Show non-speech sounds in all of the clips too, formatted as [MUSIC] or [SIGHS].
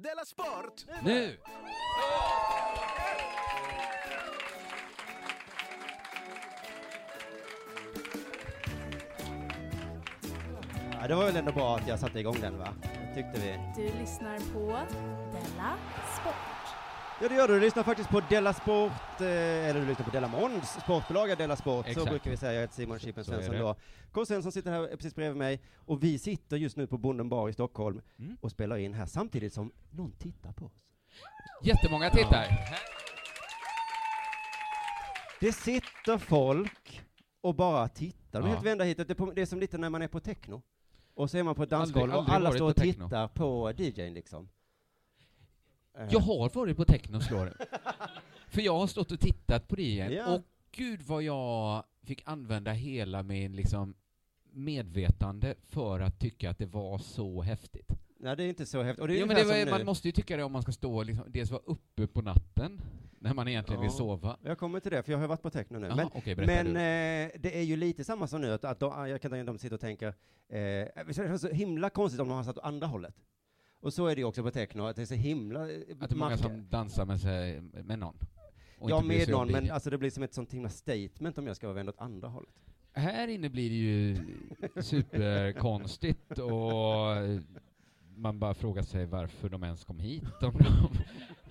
Nu! Ja, det var väl ändå bra att jag satte igång den va? Tyckte vi. Du lyssnar på Della Sport. Ja det gör du, du lyssnar faktiskt på Della Sport, eh, eller du lyssnar på Della Månds sportbolaga Della Sport, så Exakt. brukar vi säga. Jag heter Simon Chippen Så är Svensson det. då. K. Svensson sitter här precis bredvid mig, och vi sitter just nu på Bonden bar i Stockholm Mm. och spelar in här samtidigt som någon tittar på oss. Jättemånga tittar. Det sitter folk och bara tittar. De är Ja. helt vända hit. Det är, på, det är som lite när man är på techno. Och så är man på ett Aldrig- dansgolv och aldrig alla varit står och på techno. tittar på DJn liksom. Eh, Jag har varit på techno slår det. För jag har stått och tittat på det igen. Ja. Och gud vad jag fick använda hela min liksom medvetande för att tycka att det var så häftigt. Nej det är inte så häftigt. Och det är Jo, men det var, ungefär ju- som nu. man måste ju tycka det om man ska stå liksom, dels vara uppe på natten när man egentligen vill Ja. sova. Jag kommer till det, för jag har varit på techno nu. Jaha, men okej, berätta men du. eh, det är ju lite samma som nu, att, att de, jag kan tänka mig att de sitter och tänker, eh, det är så himla konstigt om de har satt åt andra hållet. Och så är det ju också på techno, att det är så himla... eh, Att det är många mark- som dansar med, sig, med någon. Och Ja, inte bryr med sig om någon, men DJ. alltså det blir som ett sånt himla statement om jag ska vara vänd åt andra hållet. Här inne blir det ju superkonstigt och man bara frågar sig varför de ens kom hit. Om de,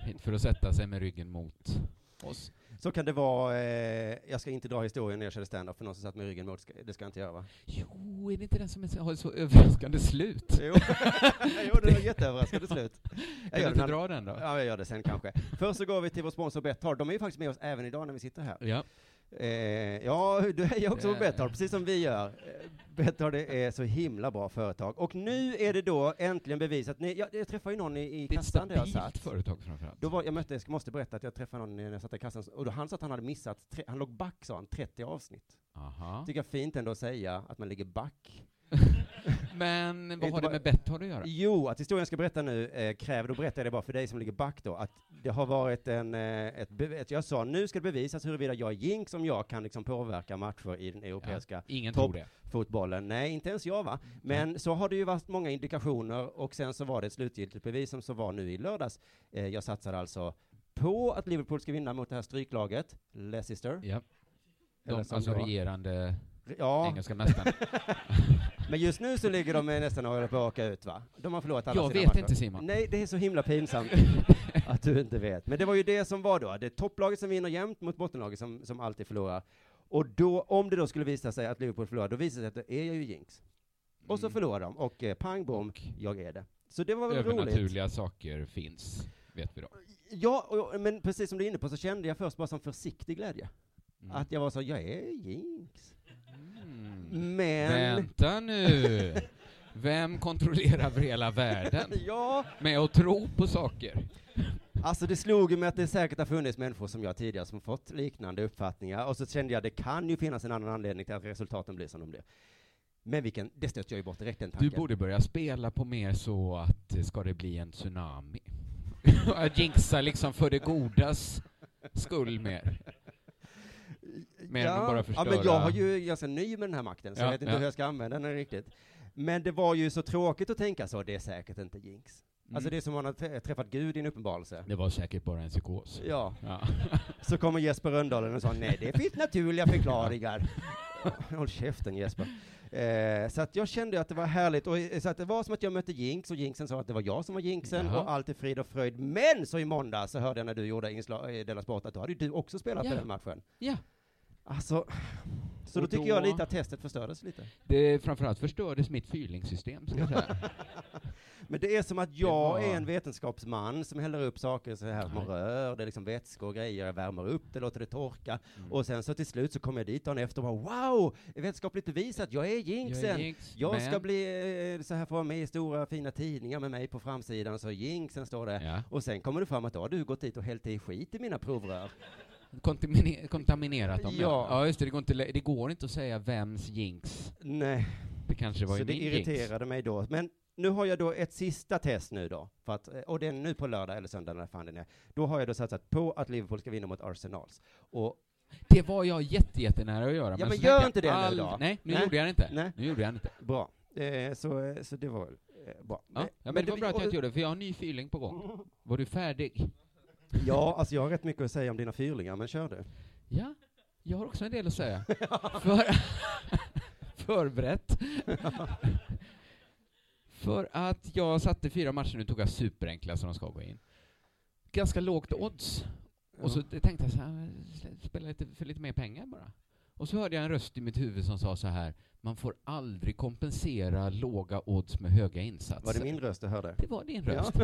hit för att sätta sig med ryggen mot oss. Så kan det vara, eh, jag ska inte dra historien när jag körde stand-up för någon som satt med ryggen mot, ska- det ska jag inte göra va? Jo, är det inte den som är så- har ett så överraskande slut? Jo, [LAUGHS] jo det var jätteöverraskande slut. Jag Kan du gör inte den här- dra den då? Ja, jag gör det sen kanske. Först så går vi till vår sponsor Betthard, de är ju faktiskt med oss även idag när vi sitter här. Ja. Eh, ja, du hejar också på Det- Betthard, precis som vi gör. Eh, Betthard det är så himla bra företag. Och nu är det då äntligen bevisat. Ni, jag, jag träffade ju någon i, i Det är ett kassan där jag stabilt satt. företag framförallt. Då var, jag, mötte, jag måste berätta att jag träffade någon när jag satt i kassan, och då han sa att han hade missat, tre, han låg back sa han, 30 avsnitt. Aha. Tycker jag fint ändå att säga, att man ligger back. Men Inte vad har det bara- med Betthard att göra? Jo, att historien jag ska berätta nu eh, kräver, då berättar jag det bara för dig som ligger back då, att det har varit en, eh, ett, be- ett, jag sa nu ska det bevisas huruvida jag är jinx, om jag kan liksom påverka matcher i den europeiska Ja, ingen topp- tror det. fotbollen. Nej, inte ens jag va. Men så har det ju varit många indikationer och sen så var det ett slutgiltigt bevis som så var nu i lördags. Eh, jag satsar alltså på att Liverpool ska vinna mot det här stryklaget, Leicester. Ja. De, Eller som alltså det var. regerande Ja, engelska [LAUGHS] mästaren. men just nu så ligger de eh, nästan och håller på att åka ut va? De har förlorat alla Jag sina vet matcher. inte, Simon. Nej, det är så [LAUGHS] himla pinsamt att du inte vet. Men det var ju det som var då, det är topplaget som vinner jämt mot bottenlaget som, som alltid förlorar. Och då, om det då skulle visa sig att Liverpool förlorar, då visar det sig att då är jag ju jinx. Och så Mm. förlorar de, och eh, pang bom, Och jag är det. Så det var väl roligt. Övernaturliga saker finns, vet vi då. Ja, och- och, men precis som du är inne på så kände jag först bara som försiktig glädje. Mm. Att jag var så, jag är jinx. Mm. Men... Vänta nu! Vem kontrollerar över hela världen [LAUGHS] Ja, med att tro på saker? alltså det slog ju mig att det säkert har funnits människor som jag tidigare som fått liknande uppfattningar, och så kände jag det kan ju finnas en annan anledning till att resultaten blir som de blir. Men vilken, det stötte jag ju bort direkt den Du tanken. borde börja spela på mer så att eh, ska det bli en tsunami. [LAUGHS] Att Jinxa liksom för det godas skull mer. mer än att bara ja, men förstöra. jag har ju jag är ganska ny med den här makten, så Ja, jag vet inte ja. hur jag ska använda den riktigt. Men det var ju så tråkigt att tänka så, det är säkert inte jinx. Alltså Mm. det är som om man har trä- träffat Gud i en uppenbarelse. Det var säkert bara en psykos. Ja, Ja. så [LAUGHS] kommer Jesper Röndahl och sa nej, det finns naturliga förklaringar. Håll käften Jesper. Eh, så att jag kände att det var härligt, och, eh, så att det var som att jag mötte Jinx, och Jinxen sa att det var jag som var Jinxen, Jaha. och allt är frid och fröjd. Men så i måndag så hörde jag när du gjorde inslag i Della Sport att då hade ju du också spelat Ja. den matchen. Ja. Alltså, så då Och tycker då- jag lite att testet förstördes lite. Det framförallt förstördes mitt fyrlingssystem, ska jag [LAUGHS] säga. Men det är som att jag var- är en vetenskapsman som häller upp saker så här med Nej. rör, det är liksom vätskor och grejer, jag värmer upp det, låter det torka, och sen så till slut så kommer jag dit dagen efter och bara wow, vetenskapligt bevisat, jag är jinxen! Jag, jinx, ska men- bli eh, så här, få vara med i stora fina tidningar med mig på framsidan, så jinxen står det. Ja. Och sen kommer det fram att då har du gått dit och hällt i skit i mina provrör. Kontamine- kontaminerat dem, Ja. ja. ja just det, det går, inte, lä- det går inte att säga vems jinx. Nej, Det kanske var så ju det min jinx. irriterade mig då. Men nu har jag då ett sista test nu då, för att, eh, och det är nu på lördag eller söndag när fan den är. Då har jag då satsat på att Liverpool ska vinna mot Arsenals. Och Det var jag jätte, jättenära att göra. Ja, men så tänkte gör jag inte det nu aldrig- då. Nej, nu Nej. gjorde jag det inte. Nej. Nu gjorde jag det inte. Bra. Eh, så, eh, så det var väl eh, bra. Ja, ja, men, det var bra att jag inte gjorde det, för jag har en ny fyrling på gång. Var du färdig? Ja, alltså jag har rätt mycket att säga om dina fyrlingar, men kör du. Ja, jag har också en del att [LAUGHS] säga. För, [LAUGHS] förberett. För att jag satte fyra matcher, nu tog jag superenkla som de ska gå in. Ganska lågt odds. Och så tänkte jag så här, spela lite för lite mer pengar bara. Och så hörde jag en röst i mitt huvud som sa så här, man får aldrig kompensera låga odds med höga insatser. Var det min röst du hörde? Det var din [LAUGHS] röst.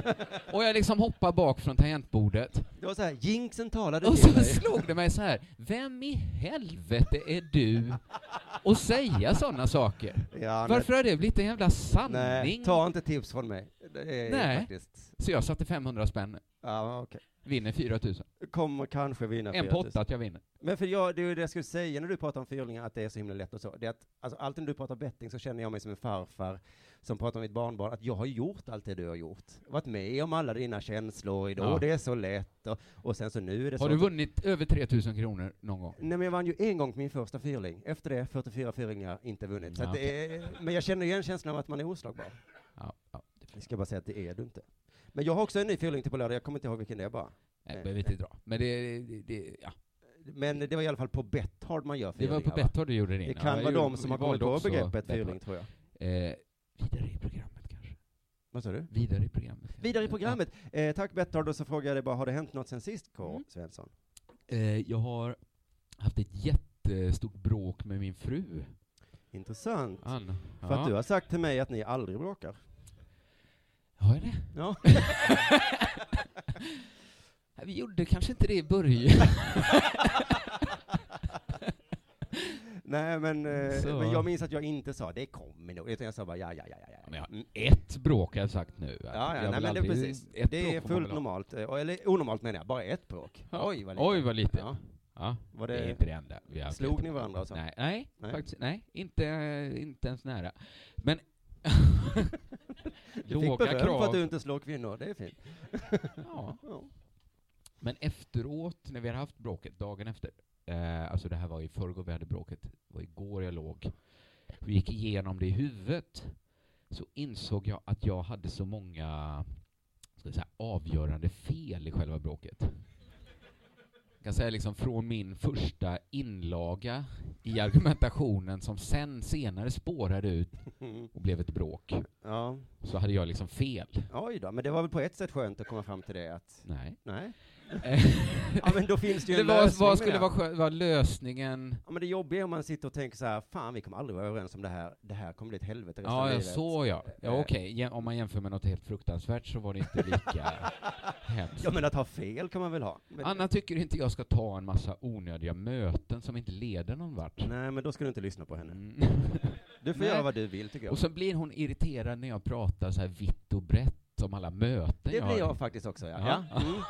Och jag liksom hoppar bak från tangentbordet. Det var så här, jinxen talade Och till så dig. slog det mig så här, vem i helvete är du att säga sådana saker? [LAUGHS] Ja, nej. Varför har det blivit en jävla sanning? Nej, ta inte tips från mig. Det är Nej. Faktiskt. Så jag satte 500 spänn, Ja, okej. vinner 4000. Kommer kanske vinna En Beatrice. pott att jag vinner. Men för jag, det är ju det jag skulle säga när du pratar om fyrlingar, att det är så himla lätt och så. Det är att, alltså, alltid när du pratar betting så känner jag mig som en farfar som pratar om mitt barnbarn, att jag har gjort allt det du har gjort. Varit med om alla dina känslor idag, Ja. och det är så lätt, och, och sen så nu är det så. Har du vunnit över 3000 kronor någon gång? Nej men jag vann ju en gång på min första fyrling, efter det 44 fyrlingar, inte vunnit. Så Ja, att det är, men jag känner igen känslan av att man är oslagbar. Ja, ja. Jag ska bara säga att det är du inte. Men jag har också en ny fyrling till på lördag, jag kommer inte ihåg vilken det är bara. Nej, det behöver vi inte dra. Men det, det, det, ja. Men det var i alla fall på Betthard man gör det fyrlingar. var på va? Betthard du gjorde din. Det Ja, kan jag vara de gjorde- som vi har kommit valde på också begreppet Betthard. fyrling, tror jag. Eh, vidare i programmet kanske? Vad sa du? Vidare i programmet. kanske. Vidare i programmet. Eh, tack Betthard, och så frågar jag dig bara, har det hänt något sen sist K. Svensson? Ja. Eh, jag har haft ett jättestort bråk med min fru. Intressant. Ann. För att du har sagt till mig att ni aldrig bråkar. Har jag det? Ja. Nej, Vi gjorde kanske inte det i [LAUGHS] början. [LAUGHS] Nej, men, eh, Så. men jag minns att jag inte sa det kommer nog, utan jag sa bara ja, ja, ja, ja. Men jag- Mm. Ett bråk har jag sagt nu. Ja, ja, nej, men det är precis. Det är fullt normalt, eh, eller onormalt menar jag, bara ett bråk. Ja. Oj, vad lite. Oj, vad lite. Ja. Ja, Var det är det, inte det enda. Vi har haft slog ni jättebråk. varandra och så? Nej, nej, Nej. faktiskt nej. Inte, inte ens nära. [LAUGHS] Men du fick låga beröm för att krav. du inte slår kvinnor, det är fint. Ja. Ja. Men efteråt, när vi hade haft bråket, dagen efter, eh, alltså det här var i förrgår vi hade bråket, det var igår jag låg, vi gick igenom det i huvudet, så insåg jag att jag hade så många ska jag säga, avgörande fel i själva bråket. Jag kan säga liksom från min första inlaga i argumentationen som sen senare spårade ut och blev ett bråk, Ja, så hade jag liksom fel. oj då, men det var väl på ett sätt skönt att komma fram till det att, Nej. [LAUGHS] nej. Eh, Ja men då finns det ju Det en var, lösning vad med skulle det. vara, skö- vara lösningen? Ja men det jobbiga är om man sitter och tänker så här, fan vi kommer aldrig vara överens om det här, det här kommer bli ett helvete resten av Ja, ja, livet. så ja. Eh. ja okej, Jäm- om man jämför med något helt fruktansvärt så var det inte [LAUGHS] lika hemskt. Ja men att ha fel kan man väl ha? Men, Anna tycker inte jag ska ta en massa onödiga möten som inte leder någon vart. Nej men då ska du inte lyssna på henne. Mm. Du får Nej. göra vad du vill tycker [LAUGHS] jag. Och sen blir hon irriterad när jag pratar så här vitt och brett om alla möten det har. blir jag faktiskt också ja. Ja. ja. [LAUGHS] Mm.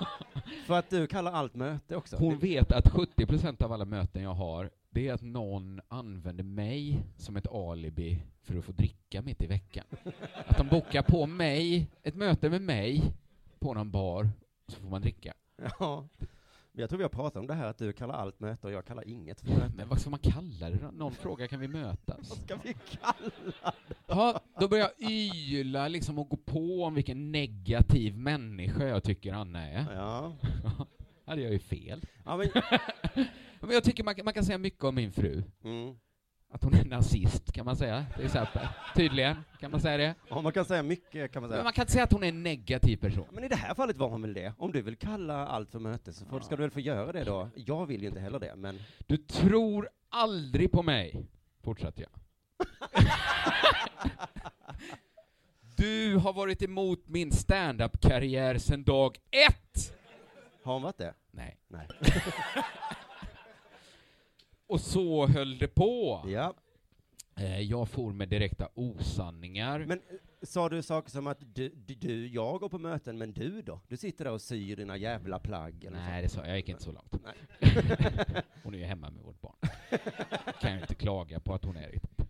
För att du kallar allt möte också. Hon vet att 70% av alla möten jag har, det är att någon använder mig som ett alibi för att få dricka mitt i veckan. Att de bokar på mig, ett möte med mig, på någon bar, så får man dricka. [LAUGHS] Ja. Men Jag tror vi har pratat om det här att du kallar allt möte och jag kallar inget för möte. Men vad ska man kalla det då? Någon fråga kan vi mötas? Ska vi kalla? Ja, då börjar jag yla liksom och gå på om vilken negativ människa jag tycker Anna är. Ja. Hade jag ju fel. ja men, Men jag tycker man, kan- man kan säga mycket om min fru. mm. att hon är nazist, kan man säga, till exempel. Tydligen, kan man säga det. Ja, man kan säga mycket kan man Men säga. man kan inte säga att hon är en negativ person. Men i det här fallet var hon väl det? Om du vill kalla allt för möte så får, ska du väl få göra det då? Jag vill ju inte heller det, men Du tror aldrig på mig, fortsatte jag. [LAUGHS] du har varit emot min stand-up-karriär sedan dag ett! har hon varit det? Nej. Nej. Och så höll det på. Ja. Eh, Jag for med direkta osanningar. Men eh, sa du saker som att du, du, du, jag går på möten, men du då? Du sitter där och syr dina jävla plagg eller Nej, det sa jag. Jag gick inte så långt. Nej. [LAUGHS] [LAUGHS] hon är ju hemma med vårt barn. kan jag inte klaga på att hon är det.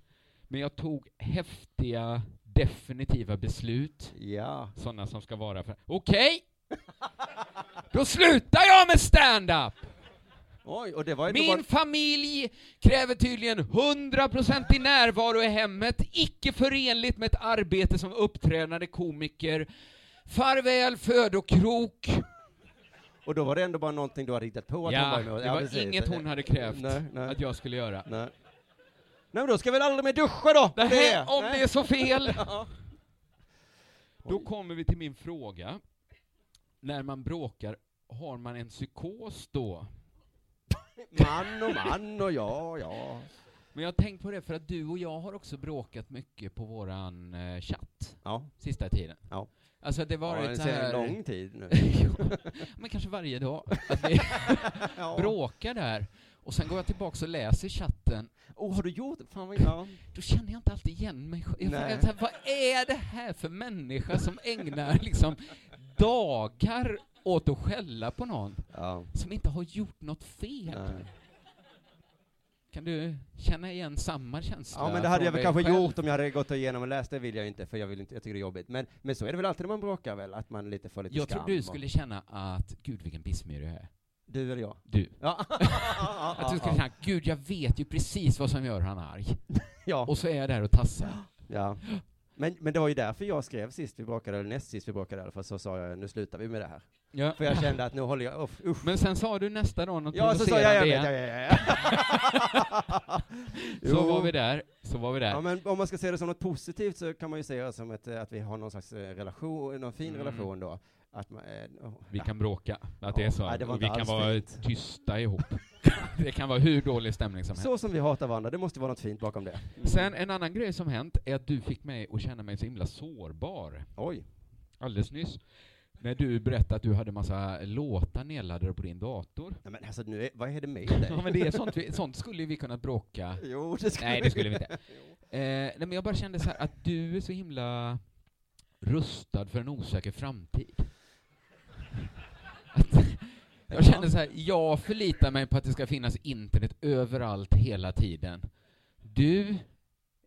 Men jag tog häftiga, definitiva beslut. så. Ja. Sådana som ska vara för... [LAUGHS] Okej! Då slutar jag med stand-up! Oj, och det var inte Min bara... familj kräver tydligen 100% i närvaro i hemmet, icke förenligt med ett arbete som uppträdande komiker. Farväl födokrok! Och då var det ändå bara någonting du hade hittat på att hon Ja, var det emot. var precis. inget hon hade krävt Nej, nej. att jag skulle göra. Nej. Nej men då ska väl aldrig mer duscha då! Det här, om Nej. det är så fel! [LAUGHS] Ja. Då kommer vi till min fråga. När man bråkar, har man en psykos då? Man och man och ja, ja. Men jag har tänkt på det, för att du och jag har också bråkat mycket på våran eh, chatt Ja, sista tiden. Ja. Alltså det har ja varit det så ser här... en [LAUGHS] lång tid nu. Jo, Men kanske varje dag. Att [LAUGHS] vi Ja. bråkar där. Och sen går jag tillbaka och läser chatten. Oh, har du gjort det? Fan vad ja. Då känner jag inte alltid igen mig själv. Jag Nej. får- så här, Vad är det här för människa som ägnar liksom dagar åt att skälla på någon ja. eh, som inte har gjort något fel? Nej. Kan du känna igen samma känsla? Ja, men det från hade jag väl dig kanske själv? gjort om jag hade gått igenom och läst det, vill jag inte, för jag, vill inte, jag tycker det är jobbigt. Men, men så är det väl alltid när man bråkar väl, att man lite får lite Jag skam. tror du och- skulle känna att, gud vilken pissmyr jag är. Du eller jag? Du. Ja. Att du skulle känna, gud [LAUGHS] jag vet ju precis vad som gör han arg. ja. Och så är jag där och tassar. ja. Men, men det var ju därför jag skrev sist vi bråkade, eller näst sist vi bråkade i alla fall, så sa jag nu slutar vi med det här. Ja. För jag kände att nu håller jag, uff, usch. Men sen sa du nästa dag något Ja, så sa jag, jag provocerande vet, jag igen. vet, Så var vi där, så var vi där. Ja, men om man ska se det som något positivt så kan man ju se det som ett, eh, att vi har någon slags eh, relation, någon fin Mm. relation då. Att man, eh, oh, Vi ja. kan bråka, att det är så. nej, det var och vi inte kan alls vara fint. tysta [LAUGHS] ihop. det kan vara hur dålig stämning som helst. Så som vi hatar varandra, det måste vara något fint bakom det. Sen en annan grej som hänt är att du fick mig att känna mig så himla sårbar Oj. alldeles nyss. När du berättade att du hade massa låtar nedladdade på din dator. Nej, men alltså nu, är, vad är det med dig? [LAUGHS] Ja men det är sånt, vi, sånt skulle ju vi kunna bråka. [LAUGHS] Jo, det [LAUGHS] skulle Nej det skulle vi [LAUGHS] inte. Eh, nej men jag bara kände så här att du är så himla rustad för en osäker framtid. [LAUGHS] Att- Jag kände så här, jag förlitar mig på att det ska finnas internet överallt hela tiden. Du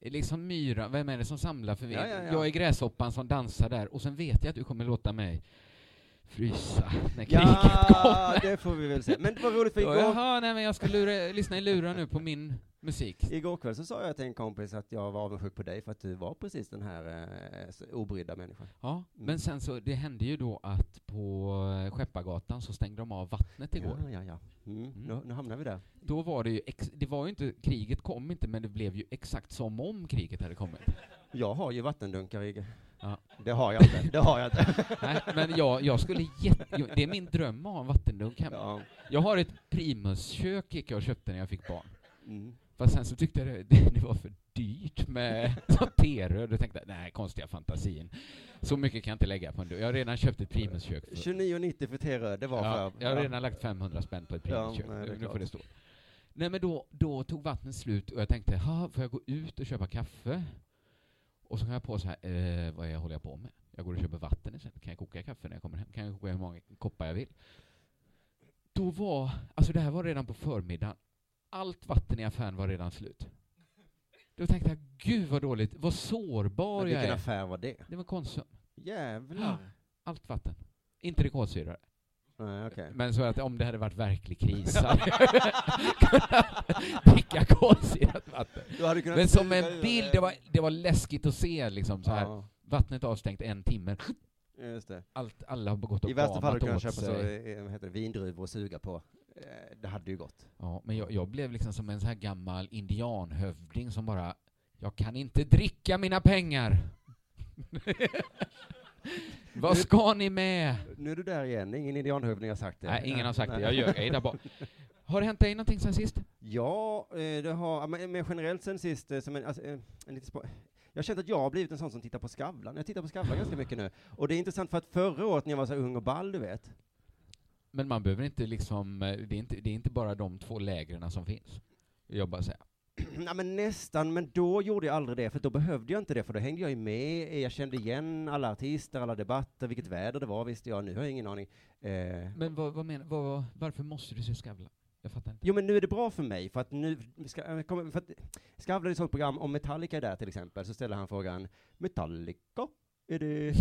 är liksom myran, vem är det som samlar för Ja, ja, ja. Jag är gräshoppan som dansar där och sen vet jag att du kommer låta mig frysa när kriget Ja, kommer. [LAUGHS] det får vi väl se. Men det var roligt för Och, igår, Jaha, nej men jag ska lura, lyssna i lurar nu på min musik. igår kväll så sa jag till en kompis att jag var avundsjuk på dig för att du var precis den här eh, s- obrydda människan. Ja, Mm. men sen så, det hände ju då att på eh, Skeppargatan så stängde de av vattnet igår. Ja, ja, ja. Mm. Nu, nu hamnar vi där. Då var det ju, ex- det var ju inte, kriget kom inte, men det blev ju exakt som om kriget hade [LAUGHS] kommit. Jag har ju vattendunkar, i... Ja. Det har jag inte. Det har jag inte. [LAUGHS] Nej, men jag, jag skulle jätte, jag- det är min dröm att ha en vattendunk hemma. Ja. Jag har ett primuskök gick jag och köpte när jag fick barn. Mm. Fast sen så tyckte jag det, det, [LAUGHS] det var för dyrt med [LAUGHS] sånt teröd och tänkte jag, nej, konstiga fantasin. Så mycket kan jag inte lägga på en dunk. Jag har redan köpt ett primuskök. för- 29,90 för T-röd, det var Ja, för... jag har redan lagt 500 spänn på ett Ja, primuskök. nej, det är nu klart. får det stå. Nej, men då, då tog vattnet slut och jag tänkte, "Ha, får jag gå ut och köpa kaffe? Och så kom jag på så här, eh, vad är jag håller jag på med? Jag går och köper vatten istället. Kan jag koka kaffe när jag kommer hem? Kan jag koka hur många koppar jag vill? Då var, alltså det här var redan på förmiddagen. Allt vatten i affären var redan slut. Då tänkte jag, gud vad dåligt, vad sårbar Men jag vilken är. affär var det? Det var Konsum. Jävlar. Allt vatten. Inte det kolsyra. Nej, okej. Men så att om det hade varit verklig kris [LAUGHS] så hade jag kunnat dricka kolsyrat vatten. Du hade kunnat Men som skriva i en bild, det var, det var läskigt att se liksom så här. Ja, Vattnet avstängt en timme, just det. allt, alla har gått och I värsta fall hade kramat du kunnat åt köpa så, sig. eh, vad heter det, vindruvor och suga på. eh, det hade ju gått. Ja, men jag, jag blev liksom som en sån här gammal indianhövding som bara Jag kan inte dricka mina pengar! [LAUGHS] Vad ska ni med? Nu är du där igen, ingen indianhövding har sagt det. Nej, ingen har sagt det. Jag Nej. ljög. Jag är där bak. Har det hänt dig någonting sen sist? [LAUGHS] Ja, eh, det har, ja, men men generellt sen sist, eh, som en, alltså, eh, en liten spo- jag har känt att jag har blivit en sån som tittar på Skavlan. Jag tittar [GASPS] på Skavlan ganska mycket nu. Och det är intressant för att förra året när jag var så ung och ball, du vet. [CLEARS THROAT] Men man behöver inte liksom, eh, det är inte, det är inte bara de två lägren som finns. Jag bara säger. Nej, men nästan, men då gjorde jag aldrig det, för då behövde jag inte det, för då hängde jag ju med. Eh, Jag kände igen alla artister, alla debatter, vilket väder det var visste jag. Nu har jag ingen aning. Eh, Men vad, vad menar, vad, vad- varför måste du se Skavlan? Jag fattar inte. Jo, men nu är det bra för mig, för att nu... Ska, jag kommer- för att, Skavlan är ett sånt program, om Metallica är där till exempel, så ställer han frågan Metallica, [LAUGHS] är det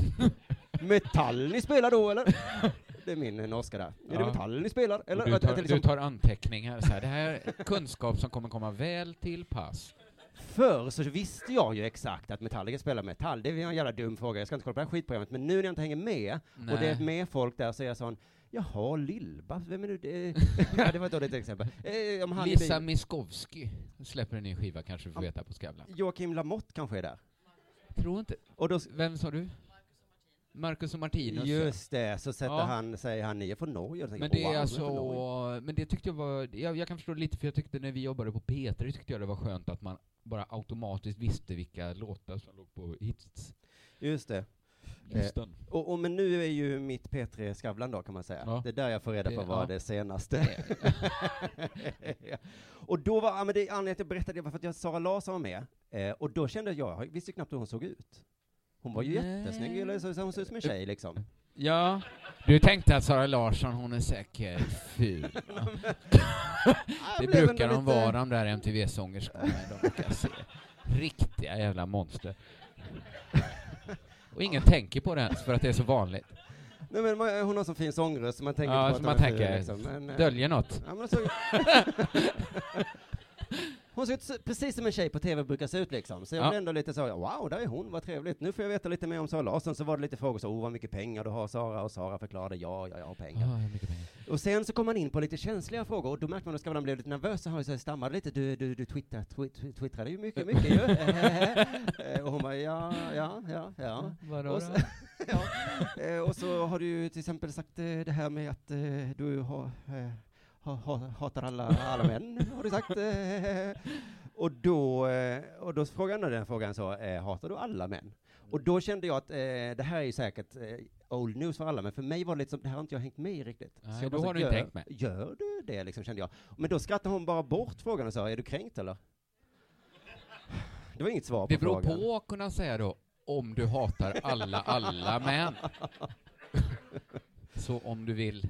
metall ni spelar då eller? Det är min eh, norska där. Är det Ja. metall ni spelar? Eller? du, att- att tar, liksom- du tar anteckningar, så här. det här är kunskap som kommer komma väl till [LAUGHS] pass. Förr så visste jag ju exakt att Metallica spelar metall, det är en jävla dum fråga, jag ska inte kolla på det här skitprogrammet, men nu när jag inte hänger med, Nej. och det är med folk där, så är jag sån Jaha, Lill-Babs, vem är du? Det, [LAUGHS] ja, det var ett dåligt exempel. Eh, om han i Lisa bilen- Miskovsky släpper en ny skiva kanske vi får veta på Skavlan. Joakim Lamotte kanske är där. Tror inte. Och då Vem sa du? Marcus och Martinus. Just det, så sätter Ja. han, säger han, ni är från Norge. Och då tänker Men jag, det "Wow, är de alltså, från Norge." men det tyckte jag var, jag, jag kan förstå det lite för jag tyckte när vi jobbade på P3 tyckte jag det var skönt att man bara automatiskt visste vilka låtar som låg på hitslistan. Just det. Eh, Och, och, men nu är ju mitt P3 Skavlan då, kan man säga. Ja. Det är där jag får reda Det- på vad ja. det senaste [LAUGHS] ja. Och då var, ja, men det, anledningen till att jag berättade det var för att jag, Sara Larsson var med, eh, och då kände jag, jag visste ju knappt hur hon såg ut. Hon var ju Nej. jättesnygg, eller så, så hon såg ut som en tjej liksom. Ja, du tänkte att Sara Larsson hon är säkert [LAUGHS] ful. va? det Jag blev brukar ändå de lite- vara de där MTV-sångerskorna. De brukar se riktiga jävla monster. Och ingen tänker på det ens för att det är så vanligt. Nej, men man- hon har så fin sångröst, så man tänker Ja, inte på så att man hon är ful, tänker, liksom. Men, eh, Döljer något. Ja, men hon såg... hon såg ut så- precis som en tjej på tv brukar se ut liksom. Så jag Ja. blev ändå lite så, wow, där är hon, vad trevligt. Nu får jag veta lite mer om Sara Larsson. Så var det lite frågor så, oh vad mycket pengar du har Sara, och Sara förklarade, ja, ja, jag har pengar. Ah, hur mycket pengar. Och sen så kom man in på lite känsliga frågor, och då märkte man att Skavlan blev lite nervös, och han så här stammade lite, du, du, du twittrar, twi- twi- twittrade ju mycket, mycket ju. Eh, och hon bara, ja, ja, ja, ja. Vadå Och så, ja. [LAUGHS] Eh, och så har du ju till exempel sagt eh, det här med att eh, du har, eh, ha, ha, hatar alla, alla män, har du sagt. Eh, och, då, eh, och då frågade han den frågan så, eh, hatar du alla män? Och då kände jag att eh, det här är ju säkert eh, old news för alla, men för mig var det lite som, det här har inte jag hängt med i riktigt. Nej, Så jag då bara så, har du inte gör- hängt med. Gör du det liksom, kände jag. Men då skrattade hon bara bort frågan och sa, är du kränkt eller? Det var inget svar på Det beror frågan. på, kunde han säga då, om du hatar alla, alla män. Så om du vill.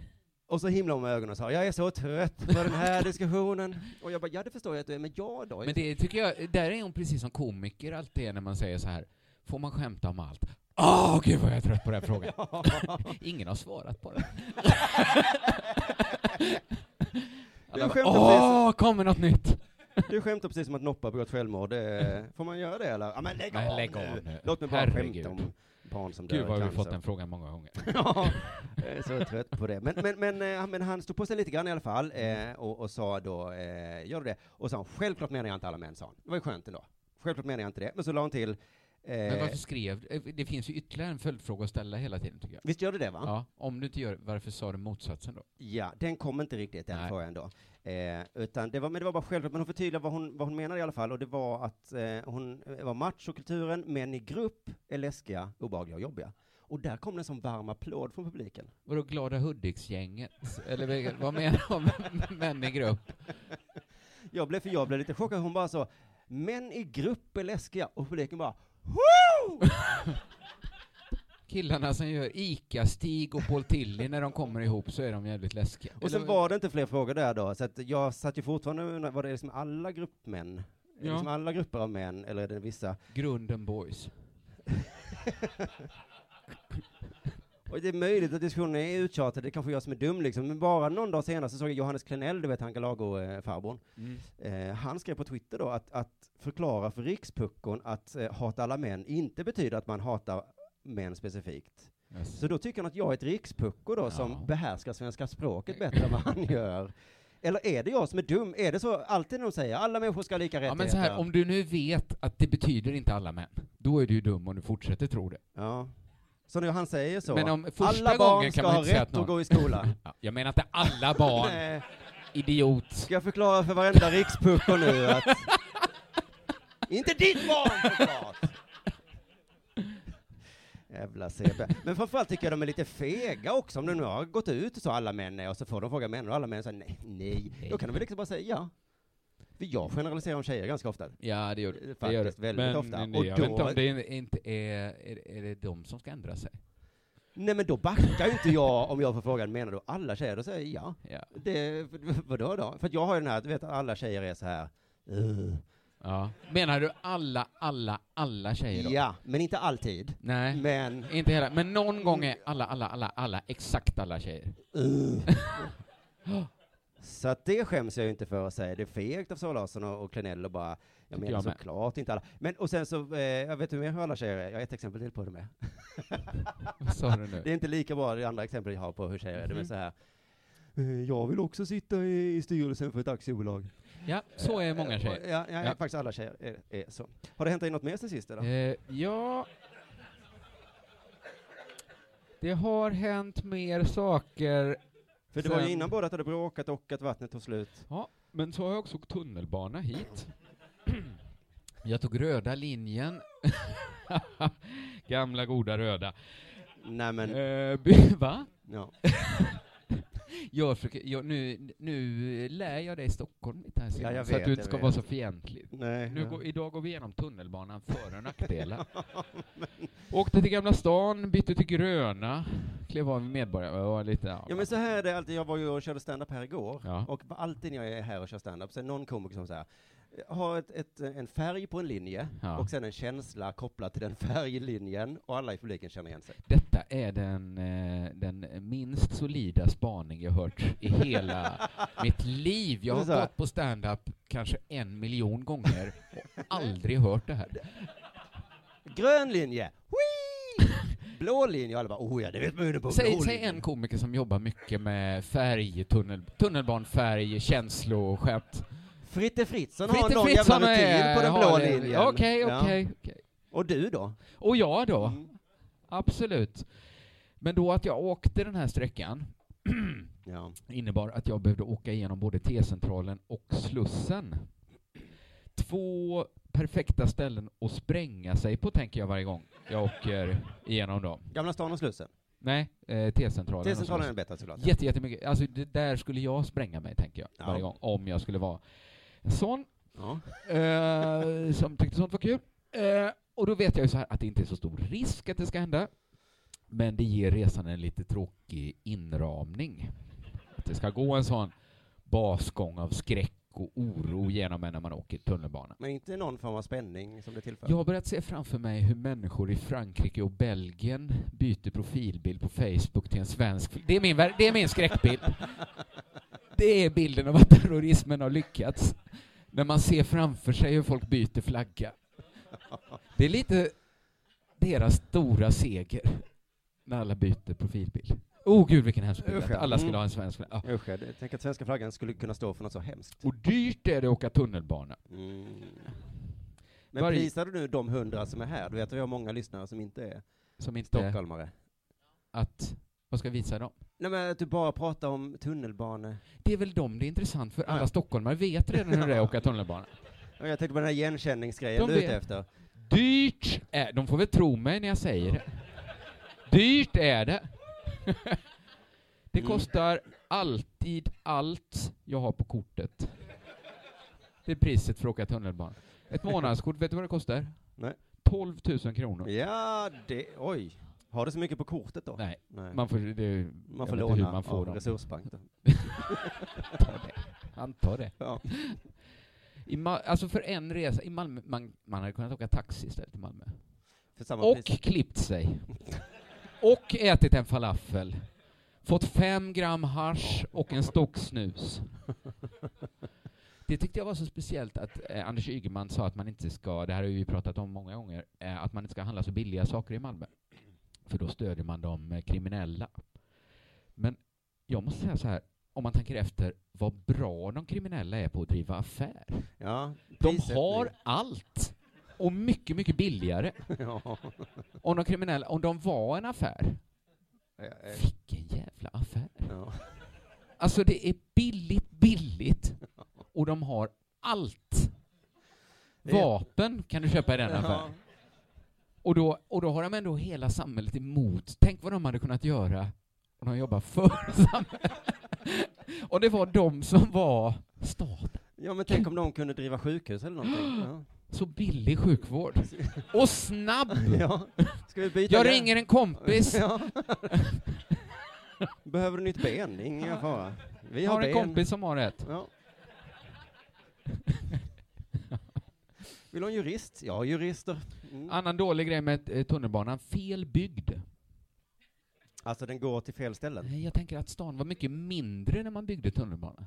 Och så himlade hon med ögonen och sa, jag är så trött på den [LAUGHS] här diskussionen. Och jag bara, ja det förstår jag att du är, men jag då? Men det tycker jag, där är hon precis som komiker alltid är när man säger så här, får man skämta om allt? Åh, gud vad jag är trött på den här frågan. [LAUGHS] Ingen har svarat på den. Alla Jag bara, skämtar Åh, kommer något nytt! Du skämtar precis som att Noppa begått självmord. Eh, Får man göra det eller? Ja men lägg, Nej, av, lägg nu. av nu. Låt mig bara Herregud. skämta om barn som Gud dör vad i har vi cancer. fått den frågan många gånger. Ja, jag är så trött på det. Men, men, men, eh, men han stod på sig lite grann i alla fall Mm. eh, och, och sa då, eh, gör du det? Och sa han, självklart menar jag inte alla män, sa han. Det var ju skönt ändå. Självklart menar jag inte det. Men så la han till, Men eh, varför skrev du? Det finns ju ytterligare en följdfråga att ställa hela tiden tycker jag. visst gör du det va? Ja, om du inte gör varför sa du motsatsen då? Ja, den kom inte riktigt den Nej. frågan då. Eh, utan det var, men det var bara självklart, men hon förtydligade vad hon, vad hon menade i alla fall, och det var att eh, hon eh, var machokulturen, men i grupp är läskiga, obehagliga och jobbiga. Och där kom det en sån varm applåd från publiken. Vadå Glada Hudiksgänget? Eller vilka- vad menar du med män i grupp? Jag blev, för jag blev lite chockad, hon bara så, män i grupp är läskiga, och publiken bara, Woo! Killarna som gör ICA-Stig och Paul Tilly när de kommer ihop så är de jävligt läskiga. Och sen Eller- var det inte fler frågor där då, så att jag satt ju fortfarande och undrade, var det liksom alla gruppmän? Är det Ja. liksom alla grupper av män, eller är det vissa? Grunden Boys. Och det är möjligt att diskussionen är uttjatad, det är kanske jag som är dum liksom, men bara någon dag senare så såg jag Johannes Klenell, du vet han Galago-farbrorn, eh, han skrev på Twitter då att, att förklara för rikspuckon att eh, hata alla män inte betyder att man hatar män specifikt. Yes. Så då tycker han att jag är ett rikspucko då som Ja. behärskar svenska språket bättre än vad han gör. Eller är det jag som är dum? Är det så alltid när de säger alla människor ska ha lika Ja, rättigheter? men så här, om du nu vet att det betyder inte alla män, då är du ju dum om du fortsätter tro det. Ja. Så nu han säger så. Men om första alla barn gången ska kan man ha inte säga rätt att någon... att gå i skolan. Ja, jag menar inte alla barn, Nej. idiot. Ska jag förklara för varenda rikspucko nu att... Inte ditt barn såklart! Jävla CB. Men framförallt tycker jag de är lite fega också, om de nu har gått ut och så alla män är, och så får de fråga män, och alla män säger nej, nej. Då kan de väl liksom bara säga ja. För jag generaliserar om tjejer ganska ofta. Ja, det gör det. Faktiskt, väldigt men, ofta. Men, Och jag då- vet inte om det är, inte är, är, är det de som ska ändra sig. Nej men då backar ju inte jag om jag får frågan, menar du alla tjejer? Då säger jag ja. Ja. Det, vadå då? För att jag har ju den här, du vet att alla tjejer är så här. "Ugh." Ja. Menar du alla, alla, alla tjejer då? Ja, men inte alltid. Nej, Men inte hela. Men någon gång är alla, alla, alla, alla, exakt alla tjejer. Så att det skäms jag ju inte för att säga. Det är fegt av Sara Larsson och, och Klenell och bara, jag Tycker menar jag med. såklart inte alla. Men och sen så, eh, jag vet hur mer hur alla tjejer är. Jag har ett exempel till på det med. Vad sa du nu? Det är inte lika bra det andra exempel jag har på hur tjejer är. Det Mhm. är så här, eh, jag vill också sitta i, i styrelsen för ett aktiebolag. Eh, Ja, så är många tjejer. Ja, ja, Ja. faktiskt alla tjejer är, är så. Har det hänt dig något mer sen sist? Eller? Eh, ja. Det har hänt mer saker, För det var ju sen- innan både att du hade bråkat och att vattnet tog slut. men så har jag också åkt tunnelbana hit. [CLEARS THROAT] Jag tog röda linjen. [LAUGHS] Gamla goda röda. Nej men, Eh, by- [LAUGHS] va? ja. Jag försöker, jag, nu, nu lär jag dig Stockholm lite här Simon, jag så vet, att du jag inte ska vet. vara så fientlig. Nej. Nu ja. går, idag går vi igenom tunnelbanan, för och [LAUGHS] nackdelar. Åkte till Gamla stan, bytte till Gröna, klev av med Medborgare. Jag var lite, Ja men så här är det alltid, jag var ju och körde stand-up här igår, Ja. och alltid när jag är här och kör stand-up så är det någon komiker som säger har ett, ett, en färg på en linje Ja. och sen en känsla kopplad till den färglinjen och alla i publiken känner igen sig. Detta är den, eh, den minst solida spaning jag hört i [LAUGHS] hela mitt liv. Jag Det är så här. har gått på stand-up kanske en miljon gånger [LAUGHS] och aldrig hört det här. Grön linje! Whee! [LAUGHS] Blå linje! Och alla bara oh ja, det vet man ju det på Säg, blå säg linjen." en komiker som jobbar mycket med färg, tunnel, tunnelbanefärg, känslor och skämt. Fritte Fritzson har någon jävla rutin på den blå har det. linjen. Okej, Ja. okej. okej. Och du då? Och jag då? Mm. Absolut. Men då att jag åkte den här sträckan Ja. innebar att jag behövde åka igenom både T-centralen och Slussen. Två perfekta ställen att spränga sig på, tänker jag varje gång jag åker igenom dem. Gamla stan och Slussen. Nej, eh, T-centralen. och T-centralen är Slussen. bättre såklart. Jätte, jättemycket. Alltså, det där skulle jag spränga mig, tänker jag, Ja. varje gång, om jag skulle vara en sån Ja. eh, som tyckte sånt var kul. Eh, och då vet jag ju så här att det inte är så stor risk att det ska hända, men det ger resan en lite tråkig inramning. Att det ska gå en sån basgång av skräck och oro genom en när man åker tunnelbana. Men inte någon form av spänning som det tillför. Jag har börjat se framför mig hur människor i Frankrike och Belgien byter profilbild på Facebook till en svensk. Det är min, ver- det är min skräckbild. Det är bilden av att terrorismen har lyckats. När man ser framför sig hur folk byter flagga. Det är lite deras stora seger. När alla byter profilbild. Oh gud vilken hemsk bild. Att alla skulle ha en svensk flagga. Ja. Usch, jag tänker att svenska flaggan skulle kunna stå för något så hemskt. Och dyrt är det att åka tunnelbana. Mm. Men Varje- prisar du nu de hundra som är här? Du vet att vi har många lyssnare som inte är Som inte stockholmare. Eh, att... Vad ska jag visa dem? Nej men att du bara pratar om tunnelbane. Det är väl dem det är intressant för. Ja. Alla stockholmare vet redan hur det är att åka tunnelbana. Och jag tänkte på den här De igenkänningsgrejen du är ute vet. efter. Dyrt är De får väl tro mig när jag säger det. Dyrt är det. Det Mm. kostar alltid allt jag har på kortet. Det är priset för att åka tunnelbana. Ett månadskort, vet du vad det kostar? Nej. 12 000 kronor. Ja, det, oj. Har du så mycket på kortet då? Nej, Nej. man får, det, är- Man jag får vet inte låna hur man får av dem. resursbank då. Anta det. Anta det. Ja. I Ma- alltså för en resa, i Malmö, man, man hade kunnat åka taxi istället till Malmö. För samma Och pris. klippt sig. Och ätit en falafel. Fått fem gram hasch och en stock snus. Det tyckte jag var så speciellt att eh, Anders Ygeman sa att man inte ska, det här har vi ju pratat om många gånger, eh, att man inte ska handla så billiga saker i Malmö. För då stödjer man de eh, kriminella. Men jag måste säga så här, om man tänker efter, vad bra de kriminella är på att driva affär. Ja, De prissättning. har allt! Och mycket, mycket billigare. [LAUGHS] ja. Om de kriminella, om de var en affär, Ja, ja, vilken jävla affär! ja. Alltså det är billigt, billigt och de har allt. Det är- Vapen kan du köpa i den affären. Och då, och då har de ändå hela samhället emot. Tänk vad de hade kunnat göra om de jobbar för [LAUGHS] samhället. Och det var de som var staten. Ja, men tänk om de kunde driva sjukhus eller [GASPS] någonting. Ja. Så billig sjukvård. Och snabb! Ja. Ska vi byta Jag grej? ringer en kompis. Ja. Behöver du nytt ben? Det [LAUGHS] är Ingen fara. Vi Jag har, har en ben. kompis som har ett. Ja. Vill du ha en jurist? Ja, jurister. Mm. Annan dålig grej med eh, tunnelbanan, fel byggd. Alltså, den går till fel ställen. Nej, Eh, jag tänker att stan var mycket mindre när man byggde tunnelbanan.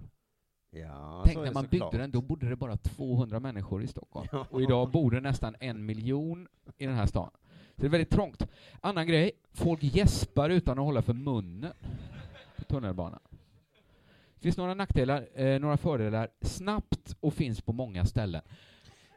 Ja, så Tänk är när det man byggde såklart. den, då bodde det bara 200 människor i Stockholm. Ja. Och idag bor det nästan en miljon i den här stan. Så det är väldigt trångt. Annan grej, folk gäspar utan att hålla för munnen på tunnelbanan. Det finns några nackdelar, eh, några fördelar, snabbt och finns på många ställen.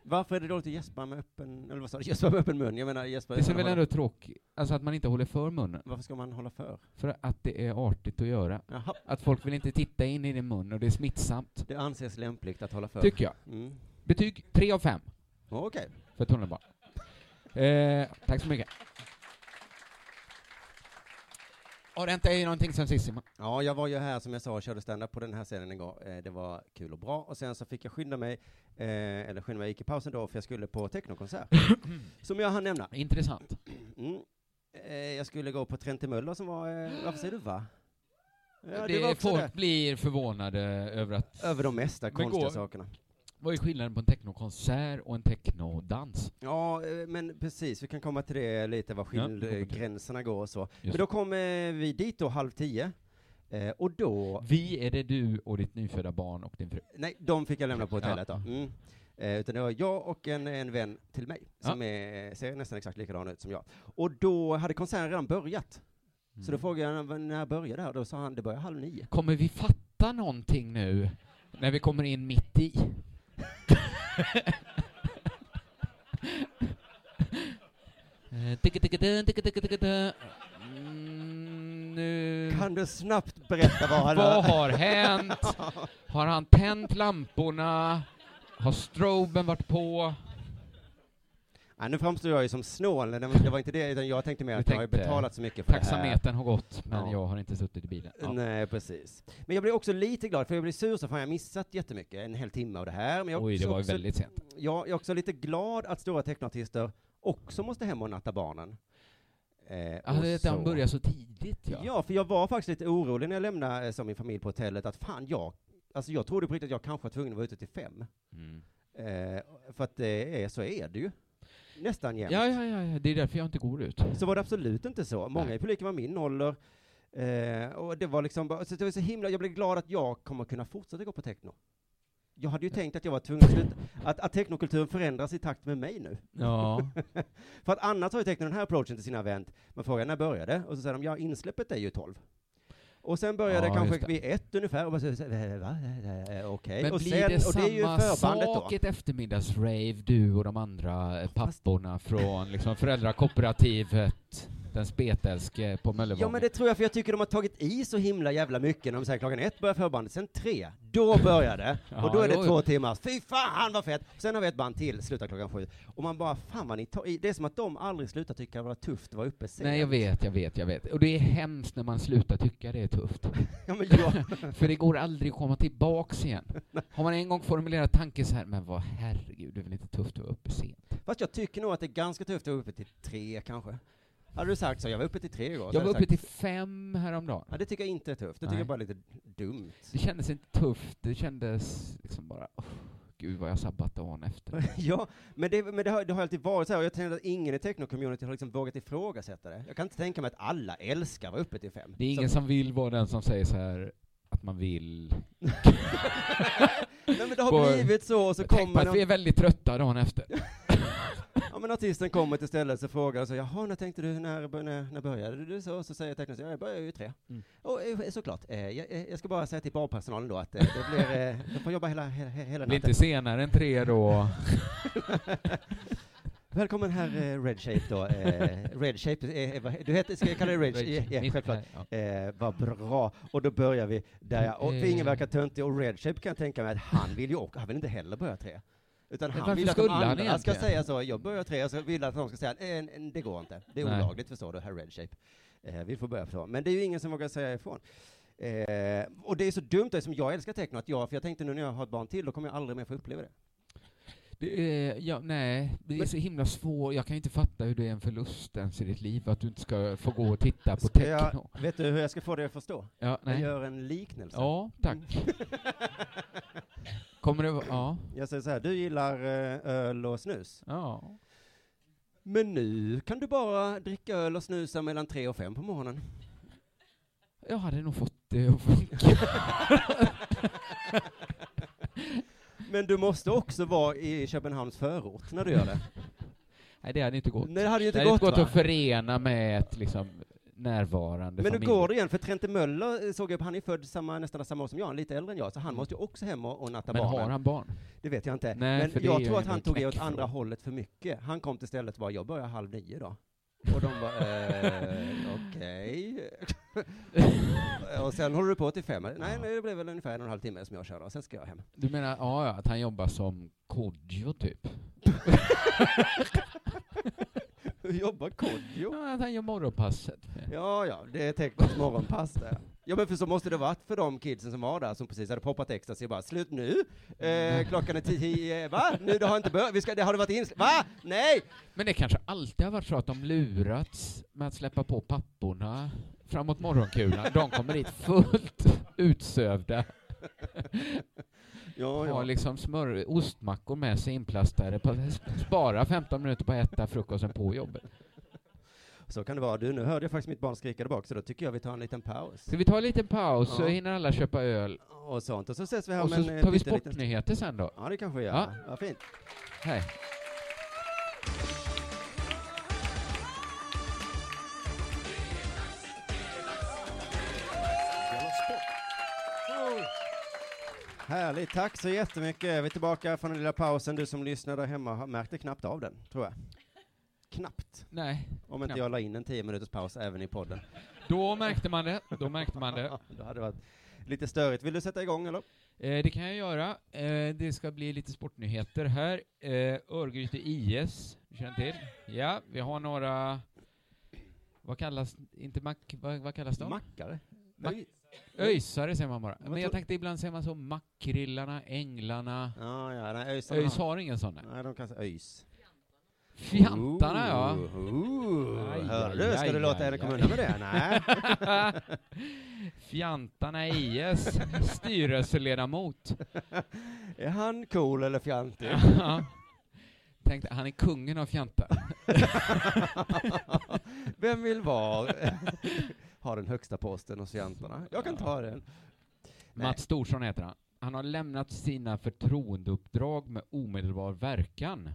Varför är det dåligt att gäspa med öppen, eller vad sa du, gäspa med öppen mun? Jag menar gäspa Det ser utan väl att hålla- ändå tråkigt, alltså att man inte håller för munnen, Varför ska man hålla för? för att det är artigt att göra. Jaha, Att folk vill inte titta in i din mun och det är smittsamt, det anses lämpligt att hålla för. tycker jag. Mm. Betyg 3 av 5. Okej. för tunnelbanan. Eh, tack så mycket. Har det hänt dig någonting sen sist Simon? Ja, jag var ju här som jag sa och körde stand-up på den här scenen en gång. Eh, Det var kul och bra. Och sen så fick jag skynda mig, eh, eller skynda mig, jag gick i pausen då, för jag skulle [COUGHS] på technokonsert. som jag hann nämna. Intressant. Mm. Eh, Jag skulle gå på Trente Möller som var, eh, varför säger du va? Ja, det det var också folk det. blir förvånade över att... Över de mesta Men konstiga gå- sakerna. Vad är skillnaden på en technokonsert och en technodans? Ja, eh, men precis, vi kan komma till det lite, var Ja, det kommer vi till. skillgränserna går och så. Men då kom eh, vi dit då halv tio, eh, och då Vi är det du och ditt nyfödda barn och din fru. Nej, de fick jag lämna på Ja. hotellet då. Mm. Eh, utan det var jag och en, en vän till mig, Ja. som är, ser nästan exakt likadan ut som jag. Och då hade konserten redan börjat. Så Mm. då frågade jag honom, när började det här? Då sa han, det börjar halv nio. Kommer vi fatta någonting nu när vi kommer in mitt [LAUGHS] i? Eh, ticka-ticka-dun, ticka-ticka-ticka-dun. Mm, nu- Kan du snabbt berätta vad [LAUGHS] han Vad har [LAUGHS] hänt? Har han tänt lamporna? Har stroben varit på? ja, Nu framstår jag ju som snål, det var, det var inte det, utan jag tänkte mer Du att jag har ju tänkte- betalat så mycket för det här. Taxametern har gått, men Ja. jag har inte suttit i bilen. Ja. Nej, precis. Men jag blev också lite glad, för jag blev sur så fan jag missat jättemycket, en hel timme av det här. Men jag Oj, det var ju också, väldigt sent. Ja, jag är också lite glad att stora technoartister också måste hem och natta barnen. Eh, Ja, och det är att han så- börjar så tidigt, ja. ja. för jag var faktiskt lite orolig när jag lämnade eh, som min familj på hotellet att fan, jag, alltså jag trodde på riktigt att jag kanske var tvungen att vara ute till fem. Mm. Eh, för att det är, så är det ju. Nästan jämt. Ja, ja, ja, ja, det är därför jag inte går ut. Så var det absolut inte så. Många Nej. i publiken var min ålder. Eh, och det var liksom bara, så det var så himla, jag blev glad att jag kommer kunna fortsätta gå på techno. Jag hade ju tänkt att jag var tvungen att sluta, att, att technokulturen förändras i takt med mig nu. Ja, För att annars har ju tecknat den här approachen till sina event. Man frågar när började det? Och så säger de, ja insläppet är ju 12. Och sen börjar det Ja, kanske just det. vid ett ungefär, och man säger, så här, va? Eh, eh, Okej. men Och blir sen, det och det är ju samma förbandet då. sak ett eftermiddagsrave, du och de andra eh, papporna från liksom, föräldrakooperativet, den spetälske på Ja men Möllevången? det tror jag, för jag tycker de har tagit i så himla jävla mycket när de säger klockan ett börjar förbandet, sen tre, då börjar det. [LAUGHS] Ja, och då är det jo, två jo. timmar. Fy fan vad fett! Sen har vi ett band till, slutar klockan sju. Och man bara, fan vad ni tar i. Det är som att de aldrig slutar tycka det var tufft att vara uppe sent. Nej, jag vet, jag vet, jag vet. Och det är hemskt när man slutar tycka det är tufft. [LAUGHS] Ja, men jag, För det går aldrig att komma tillbaks igen. Har man en gång formulerat tanken så här, men vad herregud, det är väl inte tufft att vara uppe sent? Fast jag tycker nog att det är ganska tufft att vara uppe till tre kanske. Hade du sagt så, jag var uppe till tre igår. så Jag hade var du uppe till sagt, fem häromdagen. Ja, det tycker jag inte är tufft. Det tycker Nej. jag bara är lite dumt. [LAUGHS] Det kändes inte tufft, det kändes liksom bara, oh, gud vad jag sabbat dagen [LAUGHS] efter. ja, men, det, men det, har, det har alltid varit så här, och jag tänker att ingen i techno-community har liksom vågat ifrågasätta det. Jag kan inte tänka mig att alla älskar att vara uppe till fem. Det är ingen som vill vara den som säger så här att man vill. Så, nej, men det har Bara- blivit så, och så Tänk på kommer att vi är de... väldigt trötta dagen efter. Ja, men artisten kommer till stället så frågar och så, jaha, när tänkte du, när, bör- när, när började du så? Så säger tecknaren, så, ja, jag började ju tre. Mm. Och eh, såklart, eh, jag, eh, jag ska bara säga till barpersonalen då att eh, det blir, eh, de får jobba hela, hela, hela Lite natten. senare än tre [LAUGHS] då. Välkommen herr eh, Redshape då. Eh, Redshape, eh, vad- du heter, ska jag kalla dig Redshape? Redshape, Ja, mitt- självklart. ja. Eh, vad bra. Och då börjar vi där. jag- Och för ingen Eh. verkar töntig. Och Redshape kan jag tänka mig att han vill ju också, han vill inte heller börja tre. Utan Men han varför vill att de skulle han andra ska egentligen? säga så, jag börjar tre, och så vill att de ska säga, "Eh, eh, det går inte. Det är Nej. olagligt förstår du, herr Redshape. Eh, vi får börja så. Men det är ju ingen som vågar säga ifrån. Eh, och det är så dumt, som jag älskar techno, att jag, för jag tänkte nu när jag har ett barn till, då kommer jag aldrig mer få uppleva det. Det är, ja, nej, det är så himla svårt. Jag kan inte fatta hur det är en förlust ens i ditt liv att du inte ska få gå och titta på Ska jag- techno. Vet du hur jag ska få dig att förstå? Ja, Jag nej. gör en liknelse. ja [LAUGHS] tack. Kommer det vara- ja. Jag säger så här, du gillar eh, öl och snus. ja. Men nu kan du bara dricka öl och snusa mellan tre och fem på morgonen. Jag hade nog fått det att [LAUGHS] funka. Men du måste också vara i Köpenhamns förort när du gör det. Nej, det hade inte gått. Nej, det hade ju Det hade inte gått, inte gått va? att förena med ett liksom, närvarande Men nu familj. går det igen, för Trente Möller eh, såg jag, han är född samma, nästan samma år som jag, lite äldre än jag, så han måste ju också hem och, och natta Men barnen. har han barn? Det vet jag inte. Nej, för Men det är jag ju tror att en han tog det åt knäckfråga. andra hållet för mycket. Han kom till stället och bara, jag börjar halv nio då. Och de bara, eh, okej. [LAUGHS] och sen håller du på till fem. Nej, nej, det blev väl ungefär en och en halv timme som jag kör då, sen ska jag hem. [LAUGHS] Du menar ja, ja, att han jobbar som Kodjo, typ? Hur jobbar Kodjo? Ja, att han gör morgonpasset. Ja, ja, det är tekniskt morgonpass där. Ja, men för så måste det varit för de kidsen som var där, som precis hade poppat extra, så jag bara, slut nu, eh, klockan är tio, va? Nu, det har inte börjat, Vi ska- det har det varit insläpp, va? Nej! Men det kanske alltid har varit så att de lurats med att släppa på papporna framåt morgonkulan. De kommer dit fullt utsövda, Ja, har ja. liksom smör, ostmackor med sig inplastade, på, spara 15 minuter på att äta frukosten på jobbet. Så kan det vara. Du, nu hörde jag faktiskt mitt barn skrika där bak, så då tycker jag vi tar en liten paus. Ska vi ta en liten paus så Ja. hinner alla köpa öl Och sånt. Och så ses vi här och om så en eh, tar vi pytteliten stund. sportnyheter sen då. Ja, det kanske vi gör. Ja. Ja. Vad fint. Hej. Härligt. Tack så jättemycket. Vi är tillbaka från den lilla pausen. Du som lyssnar där hemma har- märkte knappt av den, tror jag. Knappt. Nej, Om inte Knappt. jag la in en tio minuters paus även i podden. då märkte man det. Då märkte man det. [LAUGHS] Ja, det hade varit lite störigt. Vill du sätta igång, eller? Eh, det kan jag göra. Eh, det ska bli lite sportnyheter här. Eh, Örgryte IS, du känner till? Ja, vi har några... Vad kallas, inte mack, vad, vad kallas de? Mackare? Mack- Nej. Öysare säger man bara. Vad Men jag tror- tänkte ibland säger man så makrillarna, änglarna. Ja, ja. Nej, öjsarna Öjs har- har Eh, ingen sån. nej. Nej, de kallas öjs. Fjantarna ja. Ooh, ooh. Aj, Hörde du? aj, Ska aj, du låta henne aj, komma aj. undan med [LAUGHS] det? Nej. Eh, Fjantarna IS, styrelseledamot. [LAUGHS] Är han cool eller fjantig? Ja. Tänkte, han är kungen av fjantar. [LAUGHS] Vem vill vara [LAUGHS] ha den högsta posten hos jantarna? Jag kan ta den. Nej. Mats Storsson heter han. Han har lämnat sina förtroendeuppdrag med omedelbar verkan.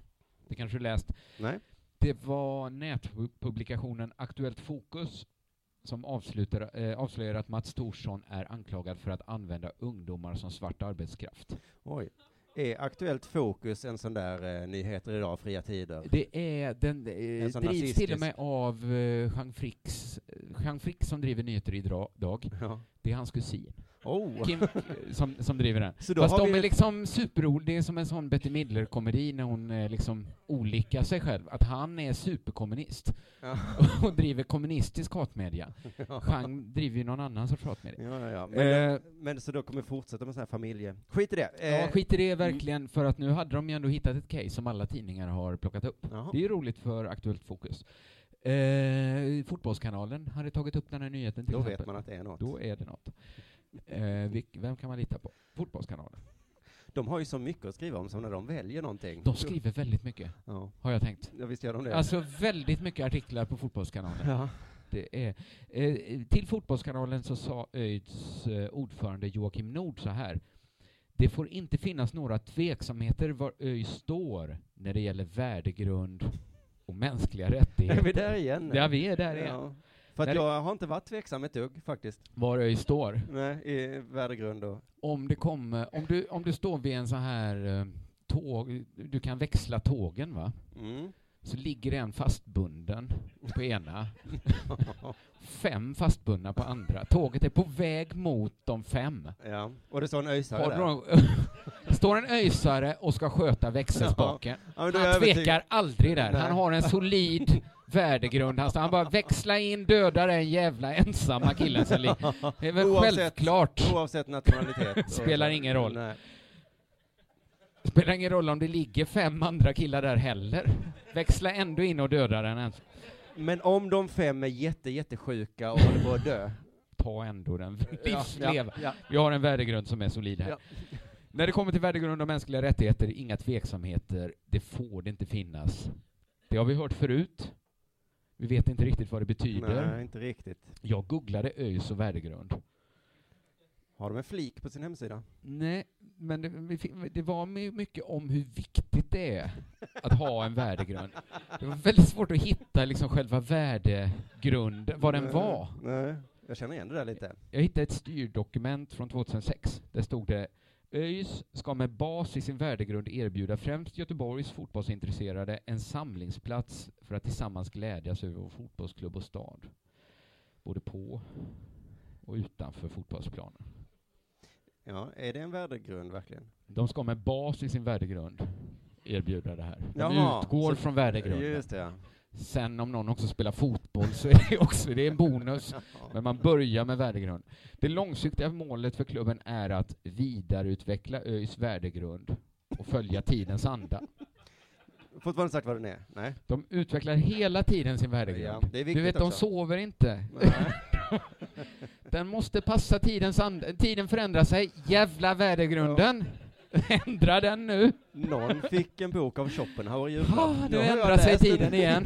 Det kanske du läst? Nej. Det var nätpublikationen Aktuellt Fokus som avslutar, eh, avslöjar att Mats Storsson är anklagad för att använda ungdomar som svart arbetskraft. Oj. Är Aktuellt Fokus en sån där eh, nyheter idag, fria tider? Det är den, eh, En drivs sån till nazistisk- och med av eh, Jean Fricks, eh, Jean Frick som driver Nyheter idag. Ja. Det är hans kusin. Oh. Kim, eh, som, som driver den. Så då Fast har de vi- är liksom superol... Det är som en sån Betty Midler-komedi när hon eh, liksom olikar sig själv. Att han är superkommunist Ja. [LAUGHS] och driver kommunistisk [LAUGHS] hatmedia. Jean driver ju någon annan sorts hatmedia. Ja, ja, ja. Men, Eh. men så då kommer vi fortsätta med sån här familje... Skit i det. Ja, Eh, skit i det verkligen, för att nu hade de ju ändå hittat ett case som alla tidningar har plockat upp. Jaha. Det är ju roligt för Aktuellt Fokus. Eh, fotbollskanalen hade tagit upp den här nyheten till Då exempel. vet man att det är något. Då är det något. Eh, vilk, vem kan man lita på? Fotbollskanalen. De har ju så mycket att skriva om som när de väljer någonting. De skriver väldigt mycket, Ja, har jag tänkt. ja visst gör de det. Alltså väldigt mycket artiklar på Fotbollskanalen. ja. Det är, eh, till Fotbollskanalen så sa ÖIDs eh, ordförande Joakim Nord så här. Det får inte finnas några tveksamheter var ÖIS står när det gäller värdegrund och mänskliga rättigheter. Är vi där igen? Ja, vi är där igen. Ja. För När att det- jag har inte varit tveksam ett dugg faktiskt. Var ÖIS står. Nej, i värdegrund och... Om, det kommer, om, du, om du står vid en sån här eh, tåg, du kan växla tågen va? Mm. Så ligger en fastbunden på ena, fem fastbundna på andra. Tåget är på väg mot de fem. Ja. Och det står en öisare Har där. du någon- [LAUGHS] Står en öjsare och ska sköta växelspaken. Ja, men då är jag han övertygad. tvekar aldrig där. Nej. Han har en [LAUGHS] solid värdegrund. Han, han bara växla in, döda den jävla ensamma killen som ligger. Det är väl självklart. Oavsett nationalitet. och- Spelar ingen roll. Nej. Spelar ingen roll om det ligger fem andra killar där heller. Växla ändå in och döda den ens. Men om de fem är jätte, jättesjuka och håller på [LAUGHS] att dö. Ta ändå den. Ja, Livsleva. ja, Vi har en värdegrund som är solid här. Ja. När det kommer till värdegrund och mänskliga rättigheter, inga tveksamheter. Det får det inte finnas. Det har vi hört förut. Vi vet inte riktigt vad det betyder. Nej, inte riktigt. Jag googlade ÖIS och värdegrund. Har de en flik på sin hemsida? Nej, men det, vi fick- det var my- mycket om hur viktigt det är att ha en värdegrund. Det var väldigt svårt att hitta liksom själva värdegrunden, vad den Nej, var. Nej, jag känner igen det där lite. Jag hittade ett styrdokument från 2006. Där stod det ÖIS ska med bas i sin värdegrund erbjuda främst Göteborgs fotbollsintresserade en samlingsplats för att tillsammans glädjas över vår fotbollsklubb och stad. Både på och utanför fotbollsplanen. Ja, är det en värdegrund verkligen? De ska med bas i sin värdegrund erbjuda det här. De Jaha, utgår så- från värdegrunden. Just det, ja. Sen om någon också spelar fotboll så är det också det är en bonus. Men man börjar med värdegrund. Det långsiktiga målet för klubben är att vidareutveckla ÖIS värdegrund och följa tidens anda. Fortfarande sagt vad den är? [LAUGHS] Nej. De utvecklar hela tiden sin Ja, värdegrund. det Du är viktigt vet, de också. sover inte. Nej. Den måste passa tidens anda. Tiden förändrar sig. Jävla värdegrunden! [LAUGHS] Ändra den nu! Någon fick en bok av Schopenhauer i Ah, julklapp. nu har jag ändrar sig läst den. tiden [LAUGHS] igen.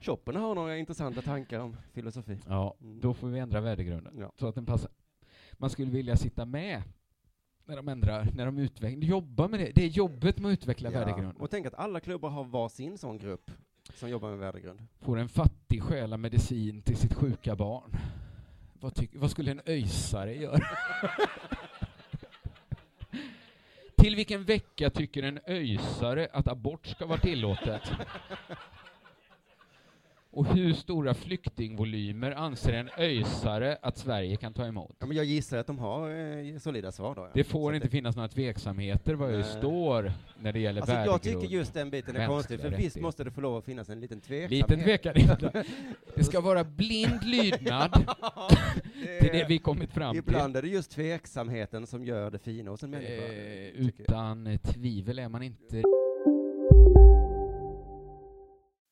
Schopenhauer har några intressanta tankar om filosofi. Ja, Mm. då får vi ändra värdegrunden Ja. så att den passar. Man skulle vilja sitta med när de ändrar, när de utvecklar, jobba med det. Det är jobbet med att utveckla värdegrunden. Och tänk att alla klubbar har var sin sån grupp som jobbar med värdegrund. Får en fattig stjäla medicin till sitt sjuka barn. Vad, tyck, vad skulle en öjsare göra? [LAUGHS] till vilken vecka tycker en öjsare att abort ska vara tillåtet? Och hur stora flyktingvolymer anser en öjsare att Sverige kan ta emot? Ja, men jag gissar att de har eh, solida svar då. Ja. Det Så får att inte finnas några tveksamheter vad det Nej. står när det gäller Alltså värdegrund. jag tycker just den biten är mänskliga konstig, för visst rättigheter. måste måste det få lov att finnas en liten tveksamhet. Liten tvekan inte. Det ska vara blind lydnad [LAUGHS] till det vi kommit fram till. Eh, Ibland är det just tveksamheten som gör det fina hos en människa. Eh, tycker jag. utan tvivel är man inte.